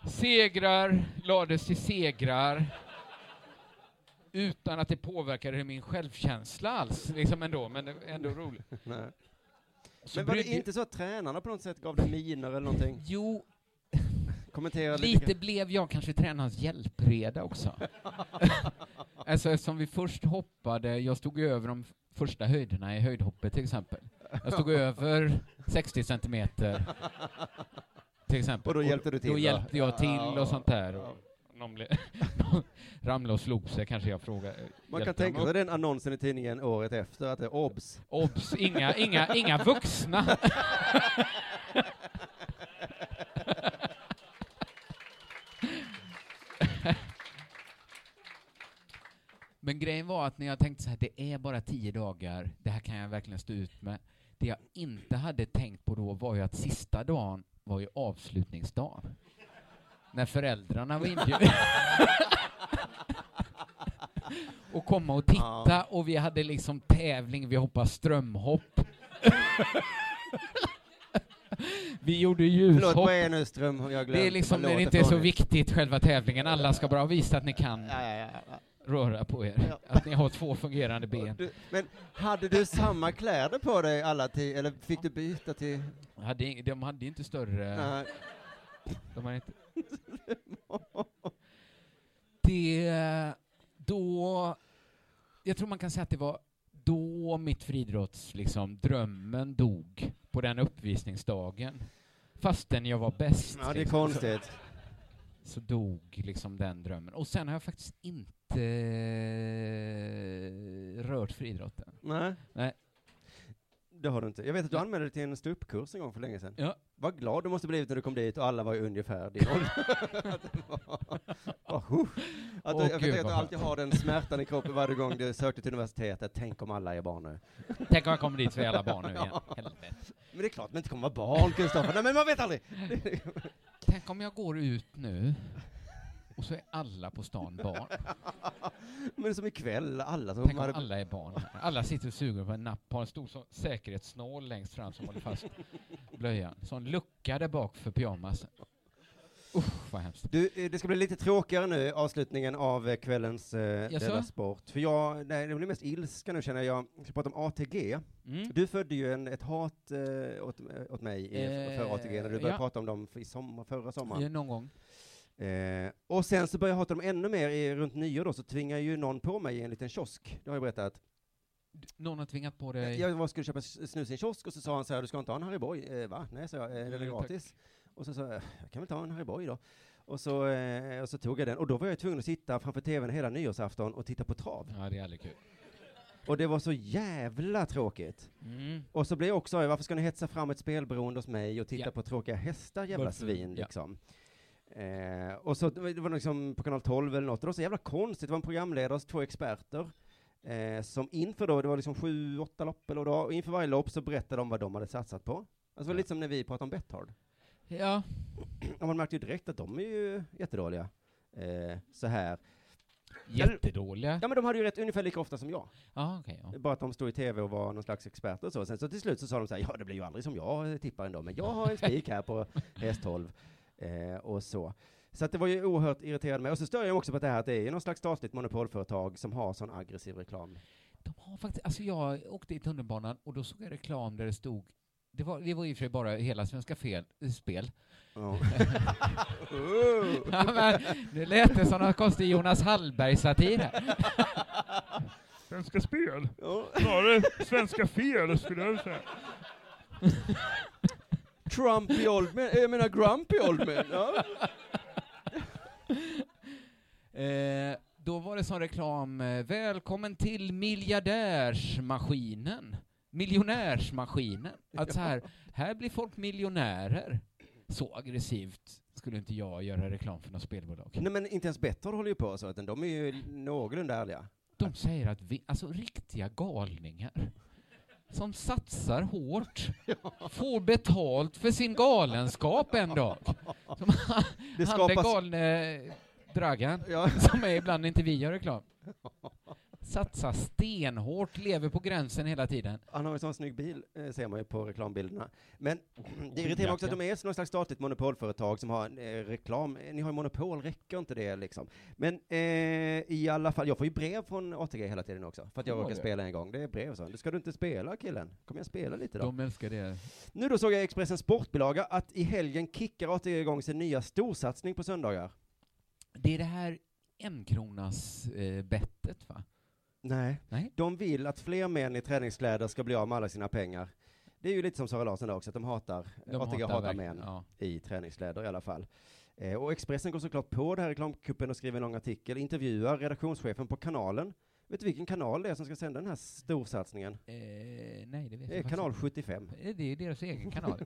Segrar lades till segrar utan att det påverkade min självkänsla alls, liksom ändå, men det var ändå roligt. Nej. Så Men var det brydde- inte så att tränarna på något sätt gav dig miner eller någonting? Jo. Kommentera lite. Lite blev jag kanske tränarens hjälpreda också. [LAUGHS] alltså eftersom vi först hoppade, jag stod över de första höjderna i höjdhoppet till exempel. Jag stod över 60 centimeter. Till exempel. Och då hjälpte du till, Då va? hjälpte jag till Ja. och sånt där. Och Någon, [LAUGHS] ble, någon ramlade och slog sig kanske jag frågade. Man hjälpte kan dem tänka sig upp. den annonsen i tidningen året efter, att det är obs. Obs! Inga, inga, inga vuxna. Men grejen var att när jag tänkte så här, det är bara tio dagar, det här kan jag verkligen stå ut med. Det jag inte hade tänkt på då var ju att sista dagen var ju avslutningsdagen. När föräldrarna var inbjudna. [LAUGHS] och komma och titta Ja. och vi hade liksom tävling, vi hoppade strömhopp. [LAUGHS] vi gjorde ljushopp. Förlåt, vad är nu ström? Jag glömde. Det är liksom Vad när det låter inte är så fånigt. viktigt, själva tävlingen. Alla ska bara visa att ni kan röra på er. Att ni har två fungerande ben. Du, [LAUGHS] men hade du samma kläder på dig alla tio, eller fick du byta till? Jag Hade, ing- de hade inte större... Nej. De hade [LAUGHS] inte... Det... Då... Jag tror man kan säga att det var då mitt friidrotts, liksom, drömmen dog på den uppvisningsdagen. Fastän jag var bäst. Ja, det är liksom. konstigt. Så, så dog liksom den drömmen. Och sen har jag faktiskt inte eh, rört friidrotten. Nej. Nej. Det har du inte. Jag vet att du anmälde dig till en ståuppkurs en gång för länge sedan. Ja. Vad glad du måste blivit när du kom dit och alla var ju [LAUGHS] ungefär din ålder. [LAUGHS] Att det var- Åh, huh. Att du- Åh, jag gud, vet att du vad alltid skönt. har den smärtan i kroppen varje gång du sökte till universitetet. Tänk om alla är barn nu. Tänk om jag kommer dit så är alla barn nu igen. Ja. Helvete. Men det är klart man inte kommer vara barn, Kristoffer. Nej, men man vet aldrig. Tänk om jag går ut nu och så är alla på stan barn. Men som ikväll, alla som Tänk om hade- alla är barn. Alla sitter och suger på en napp, har en stor sån säkerhetssnål längst fram som håller fast blöjan. Sån lucka där bak för pyjamasen. Usch, vad hemskt. Du, eh, det ska bli lite tråkigare nu, avslutningen av eh, kvällens eh, Jaså? Della Sport. För jag, nej, det blir mest ilska nu känner jag. Jag ska prata om ATG. Mm. Du födde ju en, ett hat eh, åt, åt mig i, Eh, för ATG när du började ja. prata om dem i sommar, förra sommaren. Ja, någon gång. Eh, och sen så började jag hata dem ännu mer i, runt nyår då, så tvingade ju någon på mig i en liten kiosk, det har jag berättat. Någon har tvingat på dig... Jag var, skulle köpa s- snus i en kiosk och så sa han så här, du ska inte ha en Hariboy, eh, va? Nej, sa jag, eh, den är Nej, tack. gratis. Och så sa jag, jag kan väl ta en Hariboy då. Och så, eh, och så tog jag den, och då var jag tvungen att sitta framför tvn hela nyårsafton och titta på trav. Ja, det är aldrig kul. Och det var så jävla tråkigt. Mm. Och så blev jag också arg, varför ska ni hetsa fram ett spelberoende hos mig och titta Ja. på tråkiga hästar, jävla Varför? svin Ja. liksom. Eh, och så det var det var liksom på kanal 12 eller något, och det var så jävla konstigt, det var en programledare och två experter. Eh, som inför då, det var liksom sju, åtta lopp eller dag, och inför varje lopp så berättade de vad de hade satsat på. Alltså det var lite som när vi pratade om Betthard. Ja. Och man märkte ju direkt att de är ju jättedåliga. Eh, så här. Jättedåliga? Ja men de hade ju rätt ungefär lika ofta som jag. Ja, okej. ja. Bara att de stod i tv och var någon slags experter och så. Sen så till slut så sa de så här, ja det blir ju aldrig som jag tippar ändå, men jag har en spik här på häst 12. Eh, och så. Så att det var ju oerhört irriterande med. Och så stör jag mig också på det här att det är ju någon slags statligt monopolföretag som har sån aggressiv reklam. Ja, faktiskt, alltså jag åkte i tunnelbanan och då såg jag reklam där det stod det var, det var i och för sig bara hela Svenska fel, Spel. [LAUGHS] Ja. Oh. ja, men, det lät det som någon konstig Jonas Hallberg-satir här. [LAUGHS] Svenska Spel? Ja. Snarare Svenska Fel skulle jag säga. Trumpy old man, jag menar grumpy old man. Ja. Eh, då var det som reklam, eh, välkommen till miljardärsmaskinen. Miljonärsmaskinen. Att så här, här blir folk miljonärer. Så aggressivt skulle inte jag göra reklam för något spelbolag. Nej, men inte ens Betthard håller ju på så, utan de är ju någorlunda ärliga. De säger att vi, alltså riktiga galningar som satsar [LAUGHS] hårt får betalt för sin galenskap en [LAUGHS] dag. Som han- Det han den skapas- galne eh, Dragan, [LAUGHS] som är ibland inte vi gör reklam. Satsar stenhårt, lever på gränsen hela tiden. Han har ju sån snygg bil, eh, ser man ju på reklambilderna. Men [CLEARS THROAT] det irriterar mig också att de är något slags statligt monopolföretag som har en, eh, reklam. Eh, Ni har ju monopol, räcker inte det liksom? Men eh, i alla fall, jag får ju brev från ATG hela tiden också, för att jag Ja, råkar det. spela en gång. Det är brev så. Ska du inte spela killen? Kommer jag spela lite då? De älskar det. Nu då såg jag i Expressens sportbilaga att i helgen kickar ATG igång sin nya storsatsning på söndagar. Det är det här enkronas eh, bettet va? Nej. Nej. De vill att fler män i träningskläder ska bli av med alla sina pengar. Det är ju lite som Sara Larsson där också, att de hatar, De ATG hatar hatar, verkligen, män i träningskläder i alla fall. Eh, och Expressen går såklart på det här reklamkuppen och skriver en lång artikel, intervjuar redaktionschefen på kanalen. Vet du vilken kanal det är som ska sända den här storsatsningen? Eh, nej, det vet Det jag är faktiskt kanal inte. 75. Eh, Det är deras egen kanal.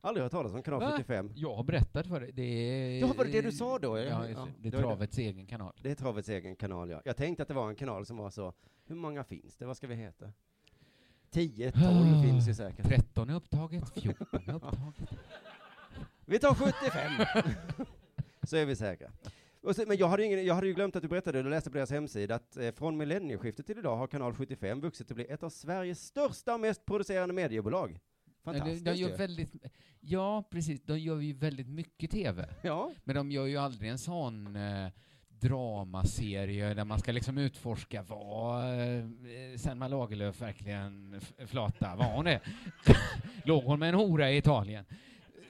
Aldrig hört talas om kanal Va? 75. Jag har berättat för dig. Det är... Ja, var det det du sa då? Ja, just det. det är travets egen kanal. Det är travets egen kanal, ja. Jag tänkte att det var en kanal som var så, hur många finns det? Vad ska vi heta? [SIGHS] 10, 12 finns ju säkert. 13 är upptaget, 14 är [LAUGHS] upptaget. Vi tar 75! [LAUGHS] så är vi säkra. Och så, men jag hade, ju ingen, jag hade ju glömt att du berättade, du läste på deras hemsida, att eh, från millennieskiftet till idag har Kanal 75 vuxit till att bli ett av Sveriges största och mest producerande mediebolag. Fantastiskt de, de gör ju. väldigt, Ja, precis. De gör ju väldigt mycket TV. Ja. Men de gör ju aldrig en sån eh, dramaserie där man ska liksom utforska vad eh, Selma Lagerlöf verkligen f- flata, var hon det? [LAUGHS] Låg hon med en hora i Italien?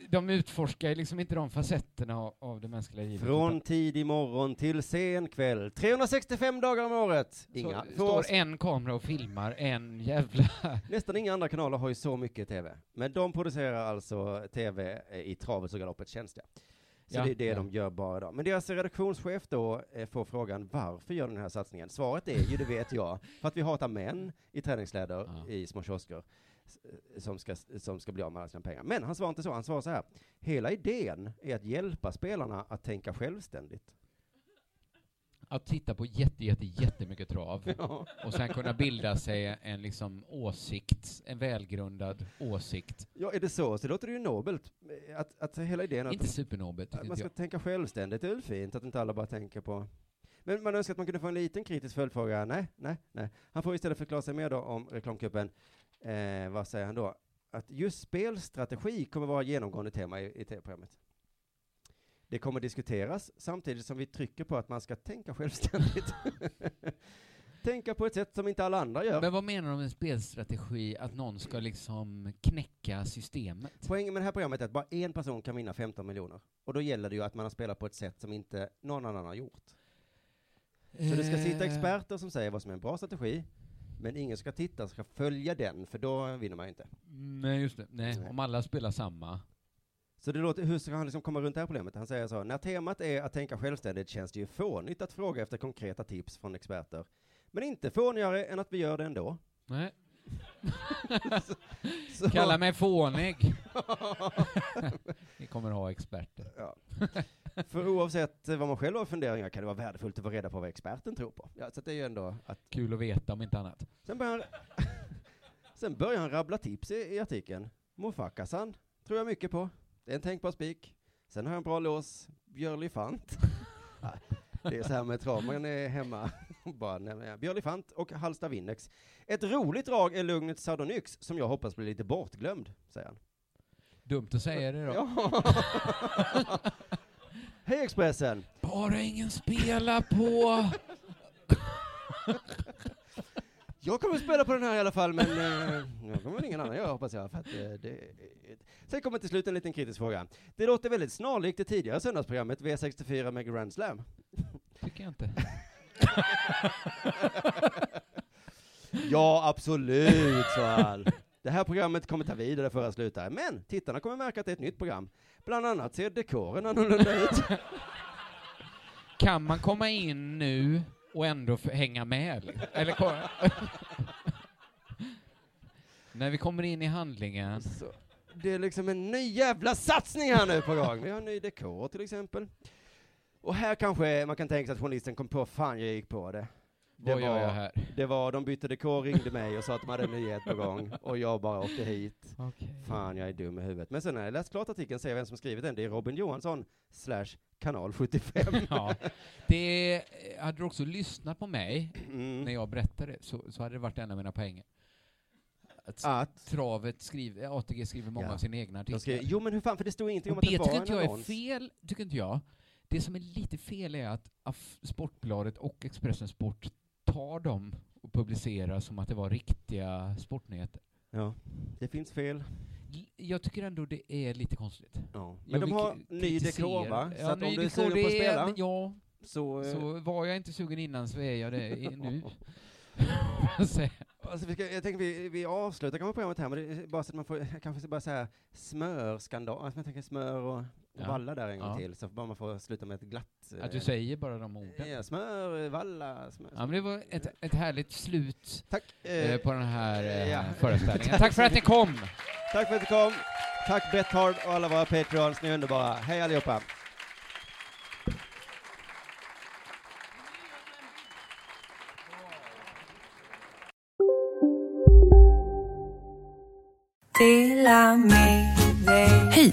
De utforskar ju liksom inte de facetterna av, av det mänskliga livet. Från tidig morgon till sen kväll, 365 dagar om året! Inga. Så, för står oss- en kamera och filmar en jävla... Nästan inga andra kanaler har ju så mycket TV. Men de producerar alltså TV i travets och galoppets tjänst. Ja. Så Ja, det är det ja. de gör bara idag. Men deras redaktionschef då eh, får frågan varför gör den här satsningen? Svaret är ju, det vet jag, för att vi hatar män i träningsläder i små kiosker s- eh, som ska, som ska bli av med alla sina pengar. Men han svarar inte så, han svarar så här. Hela idén är att hjälpa spelarna att tänka självständigt. Att titta på jätte, jätte, jättemycket trav [LAUGHS] Ja. och sen kunna bilda sig en liksom åsikt, en välgrundad åsikt. Ja, är det så, så låter det ju nobelt. eh, Att, att hela idén att Inte supernobelt, Att tycker man inte ska jag. tänka självständigt, det är väl fint att inte alla bara tänker på... Men man önskar att man kunde få en liten kritisk följdfråga. Nej, nej, nej. Han får istället förklara sig mer då om reklamkuppen. Eh, vad säger han då? Att just spelstrategi kommer vara genomgående tema i, i tv-programmet. Det kommer diskuteras samtidigt som vi trycker på att man ska tänka självständigt. [LAUGHS] tänka på ett sätt som inte alla andra gör. Men vad menar de med spelstrategi, att någon ska liksom knäcka systemet? Poängen med det här programmet är att bara en person kan vinna 15 miljoner. Och då gäller det ju att man har spelat på ett sätt som inte någon annan har gjort. Så det ska sitta Eh. experter som säger vad som är en bra strategi, men ingen ska titta, ska följa den, för då vinner man ju inte. Nej, just det. Nej, om alla spelar samma. Så det låter, hur ska han liksom komma runt det här problemet? Han säger så, när temat är att tänka självständigt känns det ju fånigt att fråga efter konkreta tips från experter. Men inte fånigare än att vi gör det ändå. [LAUGHS] Nej. så- Kalla mig [LAUGHS] fånig. Vi kommer ha experter. Ja. För oavsett vad man själv har för funderingar kan det vara värdefullt att få reda på vad experten tror på. Ja, så att det är ju ändå att... Kul att veta om inte annat. Sen börjar han, [LAUGHS] sen börjar han rabbla tips i, i artikeln. Mofakasan tror jag mycket på. Det är en tänkbar spik. Sen har jag en bra lås. Björli Fant. [LAUGHS] Nej, det är så här med trav, man är hemma. [LAUGHS] Bara, nej, men ja. Björli Fant och Halsta Winnex. Ett roligt drag är Lugnet Sardonyx som jag hoppas blir lite bortglömd, säger han. Dumt att säga det då. [LAUGHS] Hej Expressen! Bara ingen spela på... Jag kommer spela på den här i alla fall, men eh, jag kommer väl ingen annan göra hoppas jag. För att, eh, det, sen kommer till slut en liten kritisk fråga. Det låter väldigt snarlikt det tidigare söndagsprogrammet V64 med Grand Slam. Tycker jag inte. ja, absolut, sa han. Det här programmet kommer ta vid där det förra slutar, men tittarna kommer märka att det är ett nytt program. Bland annat ser dekoren annorlunda ut. Kan man komma in nu och ändå f- hänga med? liksom? Eller ko- [LAUGHS] När vi kommer in i handlingen Så. det är liksom en ny jävla satsning här nu på gång. Vi har ny dekor till exempel. Och här kanske man kan tänka sig att journalisten kom på, fan jag gick på det. Det Vad gör jag här? det var, de bytte dekor, ringde mig och sa att de hade en nyhet på gång och jag bara åkte hit. Fan, jag är dum i huvudet. Men sen när jag läst klart artikeln ser jag vem som skrivit den. Det är Robin Johansson slash kanal 75. Ja. Det, hade du också lyssnat på mig Mm. när jag berättade så, så hade det varit en av mina poänger. Att, travet skriver, ATG skriver många Ja. av sina egna De artiklar. skrev, jo men hur fan, för det stod ingenting om Och att det det var tycker en inte jag är annons. fel, tycker inte jag. Det som är lite fel är att Aff- Sportbladet och Expressen Sport tar dem och publicerar som att det var riktiga sportnyheter. Ja, det finns fel. Jag tycker ändå det är lite konstigt. Ja. Men Jag de vill har k- ny kritisera. dekor va? Ja, så att ny om du är dekor, sugen på det att spela, men Ja, så, eh, så var jag inte sugen innan så är jag det i- nu. [LAUGHS] Jag säger- Alltså, vi ska, jag tänker vi, vi avslutar kanske programmet här, men det är bara så att man får, kanske bara säga smörskandal, alltså, jag tänker smör och, och Ja. valla där en gång Ja. till, så bara man får sluta med ett glatt... eh, Att du säger bara de orden. Ja, smör, eh, valla, smör. Ja, men det var ett, ett härligt slut eh, eh, på den här eh, ja. [LAUGHS] föreställningen. Tack för att ni kom! Tack för att du kom! Tack Betthard och alla våra patreons, ni är underbara. Hej allihopa! Hej!